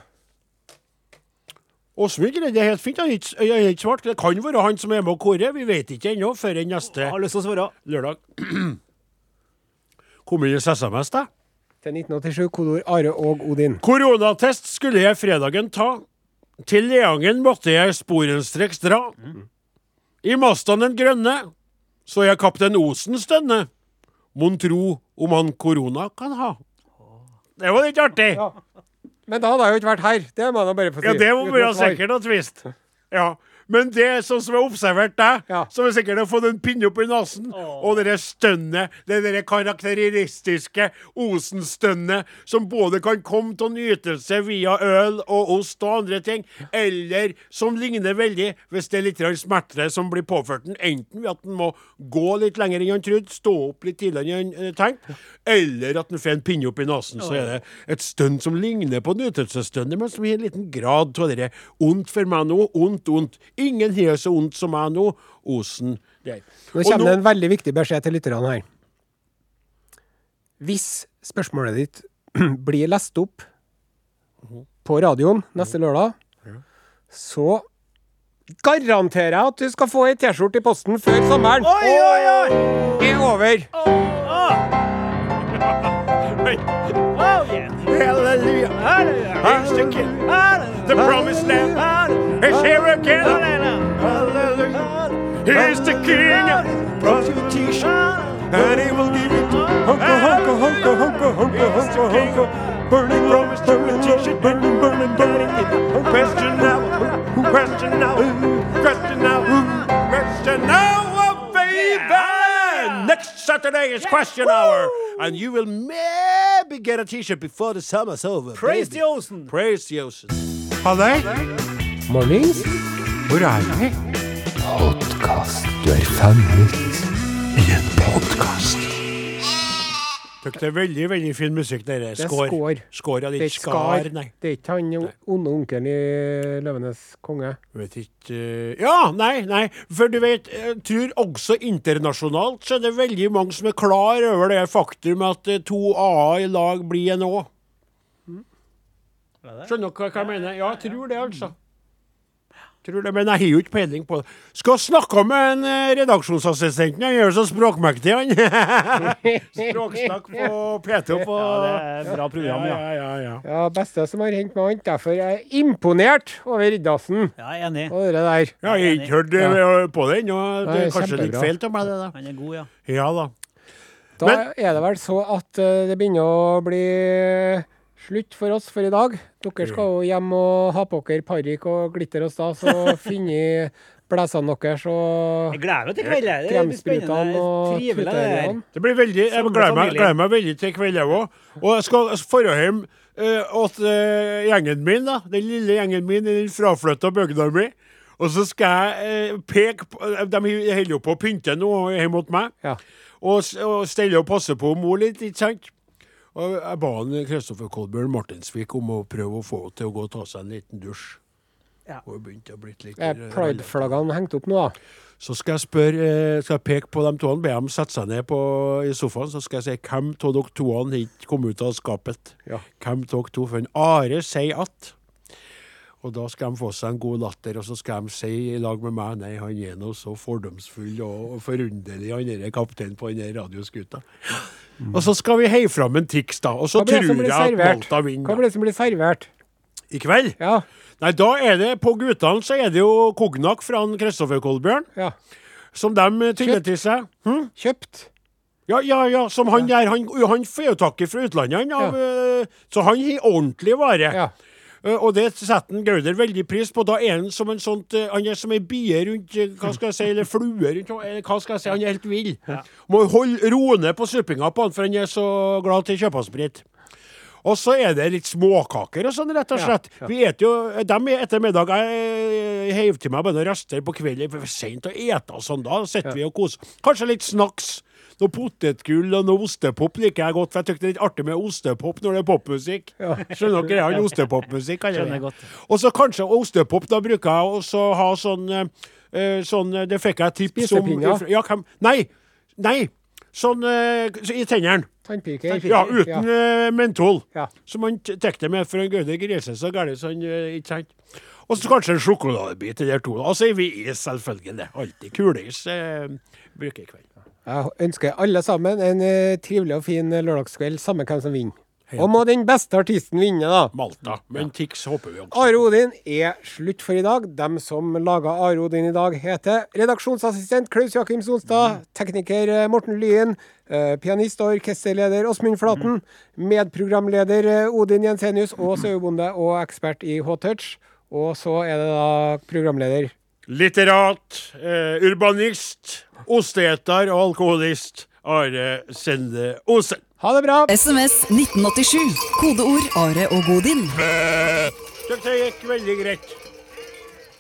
Åsmund greide det helt fint. Han er ikke- han er ikke svart. Det kan være han som er med og korer. Vi vet ikke ennå før enn neste Har lyst til å svare. lørdag. Kom inn i SMS, da. Til 1987, kodeord Are og Odin. Koronatest skulle jeg fredagen ta. Til Leangen måtte jeg sporenstreks dra. I mastaen den grønne så jeg kaptein Osen stønne. Mon tro om han korona kan ha. Det var litt artig. Ja. Men da hadde jeg jo ikke vært her. Det må jeg nå bare få si. Ja, det må Uten være å svare. sikkert og tvist. Ja. Men det er sånn som jeg har observert deg, Ja. som er sikkert å få den pinne opp i nesen, og det der stønnet, det der karakteristiske Osen-stønnet, som både kan komme til nytelse via øl og ost og andre ting, eller som ligner veldig hvis det er litt grann smerte som blir påført den, enten ved at den må gå litt lenger enn han trodde, stå opp litt tidligere enn han eh, tenkte, eller at den får en pinne opp i nesen, så er det et stønn som ligner på nytelsesstønnet, men som i en liten grad av det ondt for meg nå, ondt, ondt. Ingen har så ondt som meg nå. Osen der. Nå Og kommer det en veldig viktig beskjed til lytterne her. Hvis spørsmålet ditt blir lest opp på radioen neste lørdag, så garanterer jeg at du skal få ei T-skjorte i posten før sommeren Oi, oi, oi! er over. Oh, yeah. Halleluja! Here's the king. The promised land is here again. Hallelujah. Here's the king. Brought you a t-shirt, and he will give it to Hunka, hunka, hunka, hunka, hunka, hunka, hunka. Burning rose, burning rose, burning, burning, burning. Question now. Question now. Question now. Question now, baby. Next Saturday is question hour, and you will maybe get a T-shirt before the summer's over. Praise baby. the Ocean! Praise the ocean. Halløy! Mornings. Hvor er vi? Podkast. Du er fanget i en podkast. Tok det er veldig, veldig fin musikk, dere. er Skår. skår. Skår, ja, det er Det er ikke ikke skar, Skar. nei. Det er ikke han onde onkelen i 'Løvenes konge'. Vet ikke eh, Ja, nei, nei. For du vet, jeg tror også internasjonalt så er det veldig mange som er klar over det faktum at eh, to A-er i lag blir en Å. Skjønner dere hva jeg mener? Ja, jeg tror det, altså. Tror det, men jeg har jo ikke peiling på det. Skal snakke med en eh, redaksjonsassistenten. Han gjør seg språkmektig, han. Språksnakk på P2 på Ja, det er bra program, ja. ja, ja, ja. Ja, beste som har hendt meg annet. Derfor er jeg imponert over Riddarsen Ja, jeg er enig. og det der. Ja, jeg har ikke hørt eh, på det ennå. Det Nei, er kanskje litt kjempebra. feil av meg, det da. Han er god, ja. Ja da. Da er det vel så at eh, det begynner å bli eh, slutt for oss for i dag. Mm. Dere skal jo hjem og ha på dere parykk og glitter og stas og finne blazerne deres og Jeg gleder meg til kveld, jeg. Det blir kremsprutene spennende. og Trivelig, det der. tutorialene. Det blir veldig, Jeg Samle gleder meg, familien. gleder meg veldig til i kveld, jeg òg. Og jeg skal dra hjem eh, til eh, gjengen min, da. Den lille gjengen min i den fraflytta bygda mi. Og så skal jeg eh, peke på De holder jo på å pynte nå hjemme hos meg. Ja. Og, s- og stelle og passe på mor litt, ikke sant? Og jeg ba han Kristoffer Kolbjørn Martinsvik om å prøve å få henne til å gå og ta seg en liten dusj. Ja. Hun har begynt å blitt litt eh, Er Pride-flaggene hengt opp nå, da? Så skal jeg spørre, eh, skal jeg peke på dem to, be dem sette seg ned på, i sofaen, så skal jeg si hvem av dere to har ikke kom ut av skapet. Ja. Hvem av dere to? For en Are sier at. Og da skal de få seg en god latter, og så skal de si i lag med meg nei, han er nå så fordomsfull og forunderlig, han er kapteinen på den der radioskuta. Og så skal vi heie fram en triks, da. Og så Mm. Hva blir tror det som jeg blir at servert? Malta Hva vinner. blir det som blir servert? I kveld? Ja. Nei, da er det på guttene så er det jo kognak fra han Kristoffer Kolbjørn, ja. som de tyller Kjøtt. til seg. Kjøpt. Ja, ja, ja, som han der, han, han får jo takke fra utlandet, han, av, eh, så han har ordentlig vare. Ja. Eh, Og det setter en Gauder veldig pris på. Da er han som en sånt, eh, han er som ei bie rundt eh, hva skal jeg si, eller flue rundt eh, hva skal jeg si, han er helt vill. Må holde roe ned på suppinga på han, for han er så glad til kjøpesprit. Og så er det litt småkaker og sånn, rett og slett. Vi et jo, dem er etter middag Jeg eh, heiv til meg bare noen rester på kvelden, for det er seint å ete og sånn. Da sitter vi og koser. Kanskje litt snacks. Noe potetgull og noe ostepop liker jeg godt, for jeg tykker det er litt artig med ostepop når det er popmusikk. Skjønner dere? Han ostepopmusikk, kaller Skjønner jeg det. godt. Og så kanskje ostepop. Da bruker jeg også å ha sånn, eh, eh, sånn eh, Det fikk jeg tips om. Spisepinner? Ja, hvem? Nei! Nei! Sånn eh, i tennene. Tannpirker. Ja, uten eh, mentol. Ja. Så man t- tek det med, for en Gaude griser seg så gærent så han eh, ikke sant. Og så kanskje en sjokoladebit til de to. Og så er vi is, selvfølgelig. Alltid kuleis eh, bruker jeg i kveld. Jeg ønsker alle sammen en eh, trivelig og fin lørdagskveld, samme hvem som vinner. Og må den beste artisten vinne, da. Malta. Men Tix håper vi også. Are Odin er slutt for i dag. Dem som laga Are Odin i dag, heter redaksjonsassistent Klaus Jakim Mm. Sonstad, tekniker eh, Morten Lyen, eh, pianist og orkesterleder Åsmund Flaten, Mm. medprogramleder eh, Odin Jensenius og sauebonde og ekspert i H-touch. Og så er det da programleder Litterat, eh, urbanist, osteeter og alkoholist Are Sende Osen. Ha det bra! SMS 1987. Kodeord Are og Odin. Dette gikk veldig greit.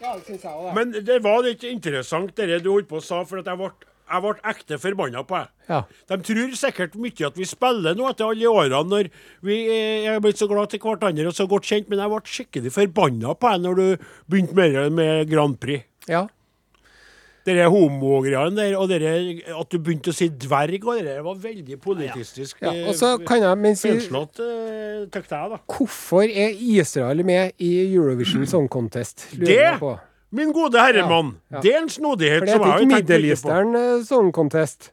Ja, det syns jeg også, det. Men det var litt interessant det du holdt på å sa, for at jeg ble, jeg ble ekte forbanna på deg. Ja. De tror sikkert mye at vi spiller nå etter alle årene når vi eh, er blitt så glad til hverandre og så godt kjent, men jeg ble skikkelig forbanna på deg når du begynte med, med Grand Prix. Ja. Det der homogreiene der, og det der at du begynte å si dverg, og det der var veldig politistisk. ja. Og så kan jeg, mens vi Feilslått, eh, tykte jeg, da. Hvorfor er Israel med i Eurovision Song Contest? Lurer jeg på. Mm. Det, min gode herremann, Ja, ja. det er en snodighet For det som heter jeg ikke har tenkt mye på. Middelisteren eh, Song Contest.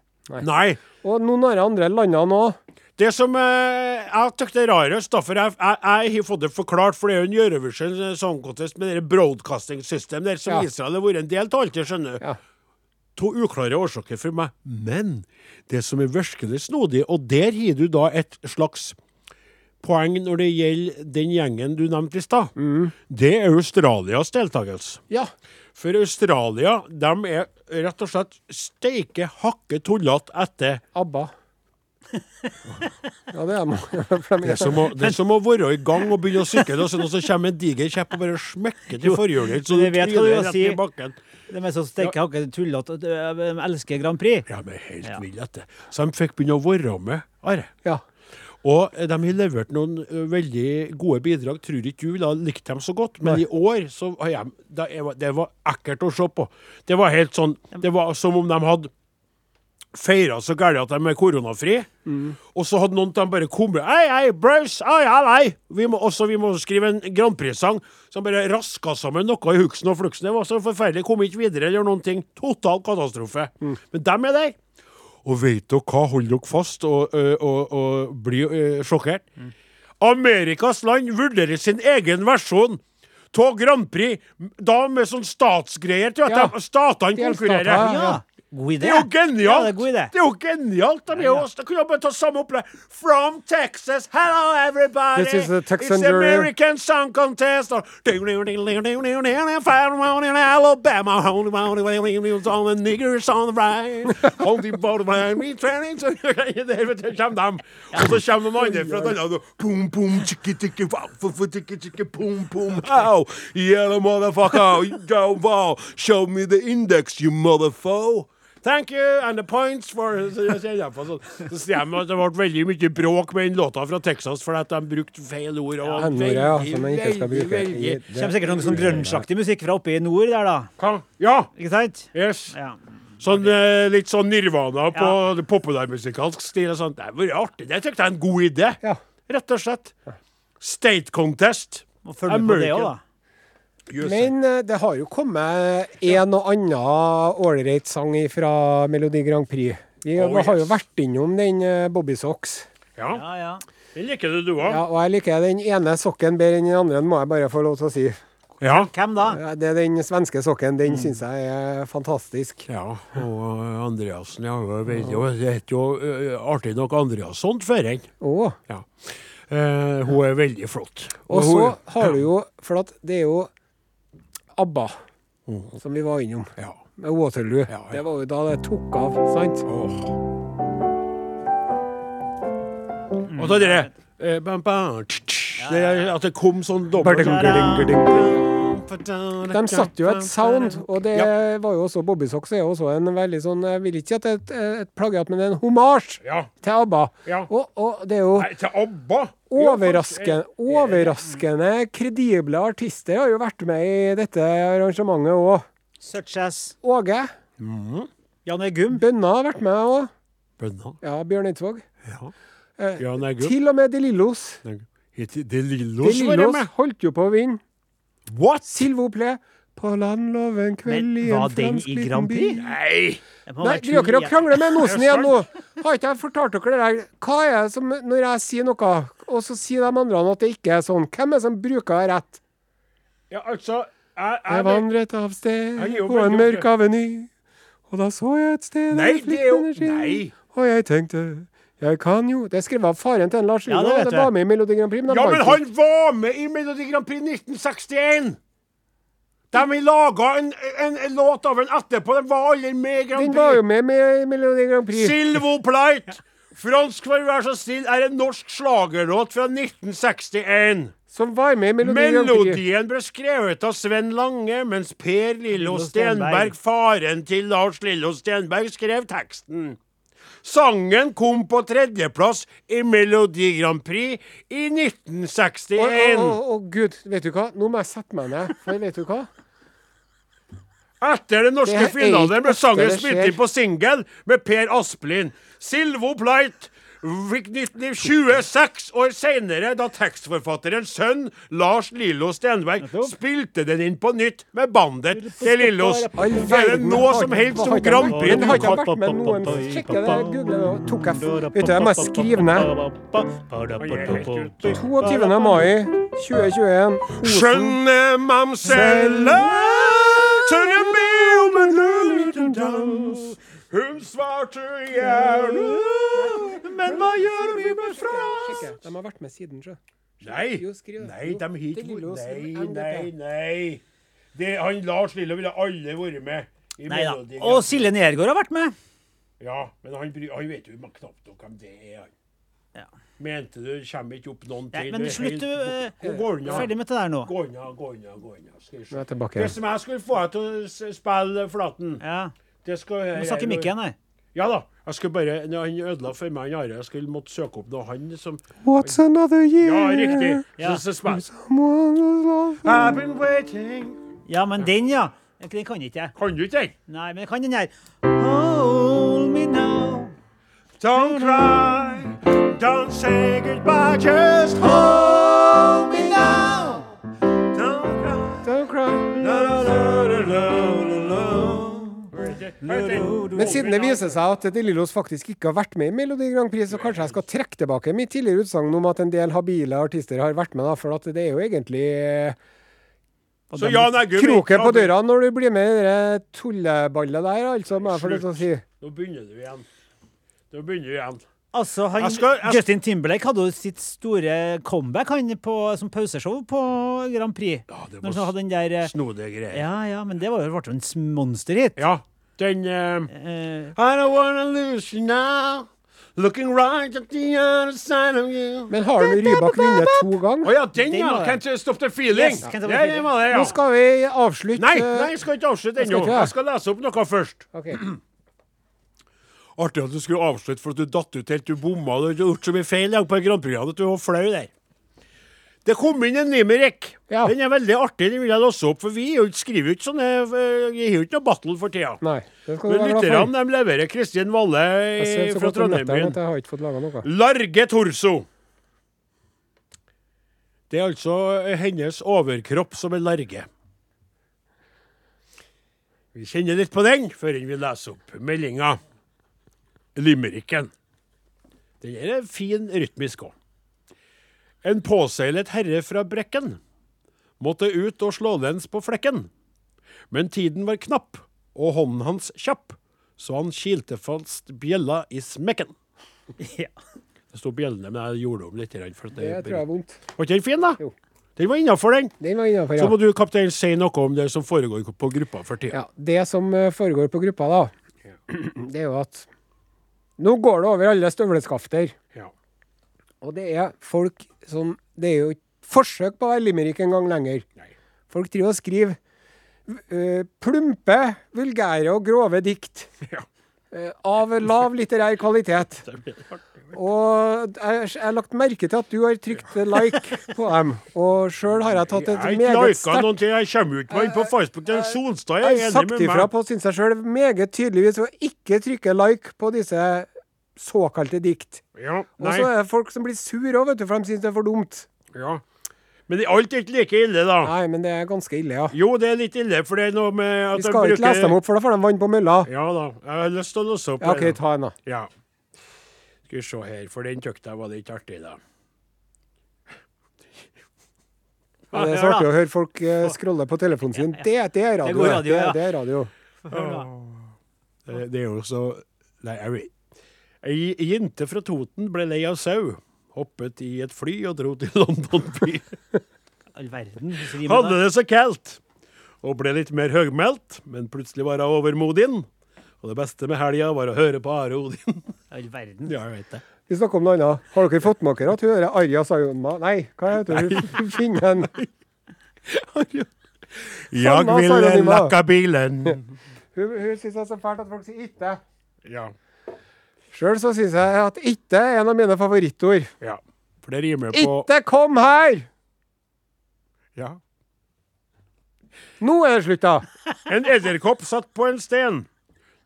Nei. Og noen av de andre landene òg. Det som eh, jeg syntes er rarest, da, for jeg, jeg, jeg har fått det forklart, for det er jo en Eurovision Song Contest med det broadcasting system der som Ja. Israel har vært en del av alltid, skjønner du. Ja. To uklare årsaker for meg. Men det som er virkelig snodig, og der har du da et slags poeng når det gjelder den gjengen du nevnte i stad, Mm. det er Australias deltakelse. Ja. For Australia, de er rett og slett steike hakke tullete etter ABBA. Ja, det er de. For de Det er er som å, det er som å være i gang og begynne å sykle, og så, og så kommer en diger kjepp og bare smekker til forhjulet, så du men jeg vet hva tryner du rett sier. ned i bakken. De er så steike hakke tullete. og Jeg elsker Grand Prix. Ja, men helt vill etter. Så de fikk begynne å være med, Are. Ja. Og eh, de har levert noen eh, veldig gode bidrag. Tror ikke du ville ha likt dem så godt, men i år så har jeg, da, jeg var- Det var ekkelt å se på. Det var helt sånn Det var som om de hadde feira så gærent at de er koronafri, og så hadde noen av dem bare kommet Ei, ei, Bruce, ei, ei, ei. Vi må, også, vi må skrive en Grand Prix-sang som bare raska sammen noe i huksen og fluksen. Det var så forferdelig. Kom ikke videre eller noen ting. Total katastrofe. Mm. Men dem er der. Og veit dere hva? Hold dere fast og, ø, og, og bli ø, sjokkert. Mm. Amerikas land vurderer sin egen versjon av Grand Prix, da med sånn statsgreier til at Ja. de- statene Delstater, konkurrerer. ja. Ja, god idé. Det er jo Ja, genialt! det er god idé. er jo genialt! De er jo også, de kunne jo bare ta samme opplegg. From Texas, hello everybody! This is the Texan It's the jury. American Song Contest! Og Alabama, holy moly, we was on the niggers on the right. Holy bottom line, we training to Der vet du, kommer de. Og så kommer de andre fra et annet og Pum, pum, tikki, tikki, wow, fu, fu, tikki, tikki, pum, pum, ow. Yellow motherfucker, you don't wow. Show me the index, you motherfucker. Thank you, and the points for Så jeg sier det på sånn. Så sier jeg meg at det ble veldig mye bråk med den låta fra Texas fordi at de brukte feil ord. Og N-ordet, ja, som man ikke skal bruke. I- Det kommer sikkert noe sånn grunge-aktig musikk fra oppe i nord der, da. Hva? Ja! Ikke sant? Yes. Ja. Sånn, eh, litt sånn nirvana på det populærmusikalsk stil. og sånt. Det var artig. Det syntes jeg er en god idé. Ja. Rett og slett. State contest. Må følge med på det American. òg, da. USA. Men eh, det har jo kommet en og annen ålreit sang fra Melodi Grand Prix. Vi Oh, har jo yes. vært innom den eh, Bobby Socks. ja, Ja, ja. den liker du, du òg. Ja, og jeg liker den ene sokken bedre enn den andre, må jeg bare få lov til å si. Ja. Hvem da? Eh, Det er den svenske sokken. Den syns jeg er fantastisk. Ja, og eh, Andreassen ja, jeg vet jo, Det heter jo eh, artig nok Andreasson før han. Å. Ja. Eh, hun er veldig flott. Og så hun- har du jo For at det er jo ABBA som vi var innom, ja. med Waterloo. Mm. Ja, ja. Det var jo da det tok av, sant? Åh. Og så det eh, Mm. bam, bam, tsk, tsk, det er At det kom sånn dobbelt De satte jo et sound, og det Ja. var jo også Bobby Socks er jo også en veldig sånn Jeg vil ikke si at det er et, et plagiat, men en homasj Ja. til ABBA. Ja. Og, og det er jo Nei, til ABBA. Overraskende, overraskende kredible artister har jo vært med i dette arrangementet òg. Such as Åge Jan Egum. Bønna har vært med òg. Bønna. Ja, Bjørn Eidsvåg. Ja. Eh, Jan Eggum. Til og med De Lillos. Heter De De Lillos var det Lillos med? holdt jo på å vinne. What? Silvo Ple. På landloven kveld Men i en var den fransk i liten Grand by. Prix? Nei! Jeg må Nei, være driver dere kul og igjen. krangler med Nosen igjen nå? Har ikke jeg fortalt dere det der? Hva er det som Når jeg sier noe, og så sier de andre at det ikke er sånn, hvem er det som bruker å ha rett? Ja, altså jeg, Jeg vandret av sted Jeg gir opp, på jeg en gir opp, jeg. mørk aveny, og da så jeg et sted Nei, der det er jo- flikkende skinn. nei. Og jeg tenkte jeg kan jo Det er skrevet av faren til en Lars Ja, Lino. det vet det jeg. var med i Melodi Grand Prix, men Ja, han men vant han var med i Melodi Grand Prix 1961! De laga en, en, en låt av en etterpå. De var alle med i ikke. Grand Den var jo Prix. med, med i Melodi Grand Prix. Silvo Plight! Fransk for å være så snill er en norsk slagerlåt fra 1961. Som var med i Melodi Grand Prix. Melodien ble skrevet av Sven Lange, mens Per Lillo Stenberg, Stenberg. faren til Lars Lillo Stenberg, skrev teksten. Sangen kom på tredjeplass i Melodi Grand Prix i Å, å, å, 1961. å, gud, vet du hva? Nå må jeg sette meg ned, for vet du hva? Etter den norske Det er finalen ble ikke sangen ofte det spilt skjer. inn på singel med Per Asplin. Silvo Plight fikk 19 26 år seinere, da tekstforfatterens sønn Lars Lillo Stenberg spilte den inn på nytt med bandet til Lillos. All Er det verden, noe har- som helst som har ikke Grand vært- Prix Den du har ikke kan vært med noen Sjekk det, google det. nå. Tok jeg f- Vet du, jeg må skrive ned. 22. mai 2021. Osen. Skjønne mamselle, tør jeg be om en liten dans. Hun svarte gjerne, men hva gjør vi med Frans? Sjekk, De har vært med siden, sjø. Nei, Jo, skriv det. nei, Jo, de hit, det ville jo nei, skrive nei, MDP. nei. Det, han Lars Lillo ville alle vært med. i Nei da. Melodi Og Grand Prix. Silje Nergård har vært med. Ja, men han, bry- han vet jo knapt nok hvem det er. han. Ja. Mente du kommer ikke opp noen Nei, til? men du er slutt, helt du, bort- eh, Gå unna. Ferdig med det der nå. Gå unna, gå unna, gå unna. Skal vi se. Nå er jeg tilbake Det igjen. som jeg skulle få deg til å s- spille Flaten Ja. Det skal jeg Nå snakker mikken, nei. Ja da. Jeg skulle bare, når Han ødela for meg, han Are. Jeg skulle måtte søke opp noe han som What's another year? Ja, riktig. Ja. Så, så spill. Someone who's lost- I've been waiting Ja, men den, ja. Den kan ikke jeg. Kan du ikke den? Nei, men jeg kan den her. Hold me now. Don't cry, don't say goodbye, just hold me now. Don't cry. Don't cry. La, la, la, la, la, la, la. Men siden det viser seg at De Lillos faktisk ikke har vært med i Melodi Grand Prix, så kanskje jeg skal trekke tilbake mitt tidligere utsagn om at en del habile artister har vært med, da, for at det er jo egentlig eh, Så Jan Eggum kroken på døra når du blir med i det tulleballet der, altså, må jeg få lov til å si. Nå begynner du igjen. Nå begynner du igjen. Altså, han, Jeg skal- jeg- Justin Timberlake hadde jo sitt store comeback han på, som pauseshow på Grand Prix. Ja, det var Når han hadde den der eh, Snodige greier. Ja, ja, men det var jo ble jo en s- monsterhit. Ja, den eh, Eh, I don't wanna lose you now. Looking right at the other side of you. Men har du Rybak vunnet to Å ganger? ja, den, Den ja! var det. Can't stop the feeling. Yes, Can't Stop the Ja, den Feeling. var det, ja. Nå skal vi avslutte Nei, nei, jeg skal ikke avslutte skal ennå. ikke det. Jeg skal lese opp noe først. Ok. Artig at du skulle avslutte for at du datt ut helt. Du bomma. Du har gjort så mye feil i dag på Grandprogrammet at du var flau der. Det kom inn en limerick. Ja. Den er veldig artig. Den vil jeg låse opp, for vi er jo ikke- skriver jo ikke sånne eh, Vi har jo ikke noe battle for tida. Nei. Det skal du Men være glad for. lytterne de leverer Kristin Valle Jeg i- ser så fra godt om Trondheim netteren at byen. jeg har ikke fått laga noe. Large torso. Det er altså eh, hennes overkropp som er large. Vi kjenner litt på den før vi leser opp meldinga. Limericken. Den her er fin rytmisk òg. En påseilet herre fra Brekken måtte ut og slå lens på flekken. Men tiden var knapp, og hånden hans kjapp, så han kilte fast bjella i smekken. Ja. Det sto bjellene, men jeg gjorde om litt. grann, For at Det tror jeg er vondt. Var ikke den fin, da? Jo. Den var innafor, den. Den var innafor, Så må ja. du, kaptein, si noe om det som foregår på gruppa for tida. ja. Det som eh, foregår på gruppa, da, det er jo at Nå går det over alle støvleskafter. Ja. Og det er folk som Det er jo ikke forsøk på å være limerick engang lenger. Nei. Folk driver og skriver eh, plumpe, vulgære og grove dikt. Ja. eh, Av lav litterær kvalitet. Det blir artig. Og jeg jeg har lagt merke til at du har trykt like på dem. Og sjøl har jeg tatt Jeg et har ikke meget lika sterkt noen ting. Jeg kommer jo ikke meg inn på Facebook. Den Solstad er jeg har enig sagt med ifra meg. på, syns jeg sjøl, meget tydeligvis å ikke trykke like på disse såkalte dikt. Ja, Og nei, så er det folk som blir sure òg, vet du, for de syns det er for dumt. ja. Men det- alt er ikke like ille, da. Nei, men det er ganske ille, ja. Jo, det er litt ille, for det er noe med at Vi skal de ikke lese dem opp, for da får de vann på mølla. Ja da. Jeg har lyst til å låse opp. Ja, OK, det da. ta en, da. Ja. Skal vi se her, for den tykte jeg var litt artig, da. Ja, det er så hør da. artig å høre folk eh, scrolle på telefonen sin. Det, det er radio. går det. radio, ja. det, det er radio. Eh, Det, det er jo så Nei, jeg vet Ei ei jente fra Toten ble lei av sau. Hoppet i et fly og dro til London by. All verden. hvis vi med Hadde det. det så kaldt! Og ble litt mer høgmælt, men plutselig var hun overmodig. Og det beste med helga var å høre på Are Odin. All verden. Ja, jeg vet det. Vi snakker om noe annet. Har dere fått med dere at hun der Arja Sayonma Nei, hva heter hun? Finnen. Jeg Sanna, vil Sara Lima. lakke bilen. Hun, hun syns det er så fælt at folk sier itte. Ja. Sjøl så syns jeg at itte er en av mine favorittord. ja. For det rimer på Ikke kom her! ja. Nå er det slutt, da. En edderkopp satt på en sten.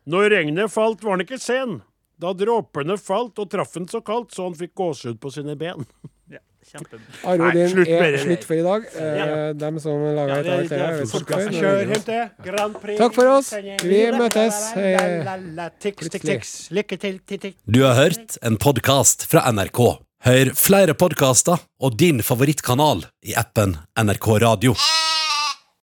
Når regnet falt, var han ikke sen. Da dråpene falt og traff han så kaldt, så han fikk gåsehud på sine ben. Ja, kjempe. Are Odin slutt med er det der. slutt for i dag. Eh, Ja. Dem som Ja, laga et det er- annet, jeg det er vet ikke podcast. hvorfor, men- til Grand Prix. Takk for oss. Vi møtes. Hei. Tiks, tiks, tiks. Lykke til. tiks, tiks. Du har hørt en podkast fra NRK. Hør flere podkaster og din favorittkanal i appen NRK Radio.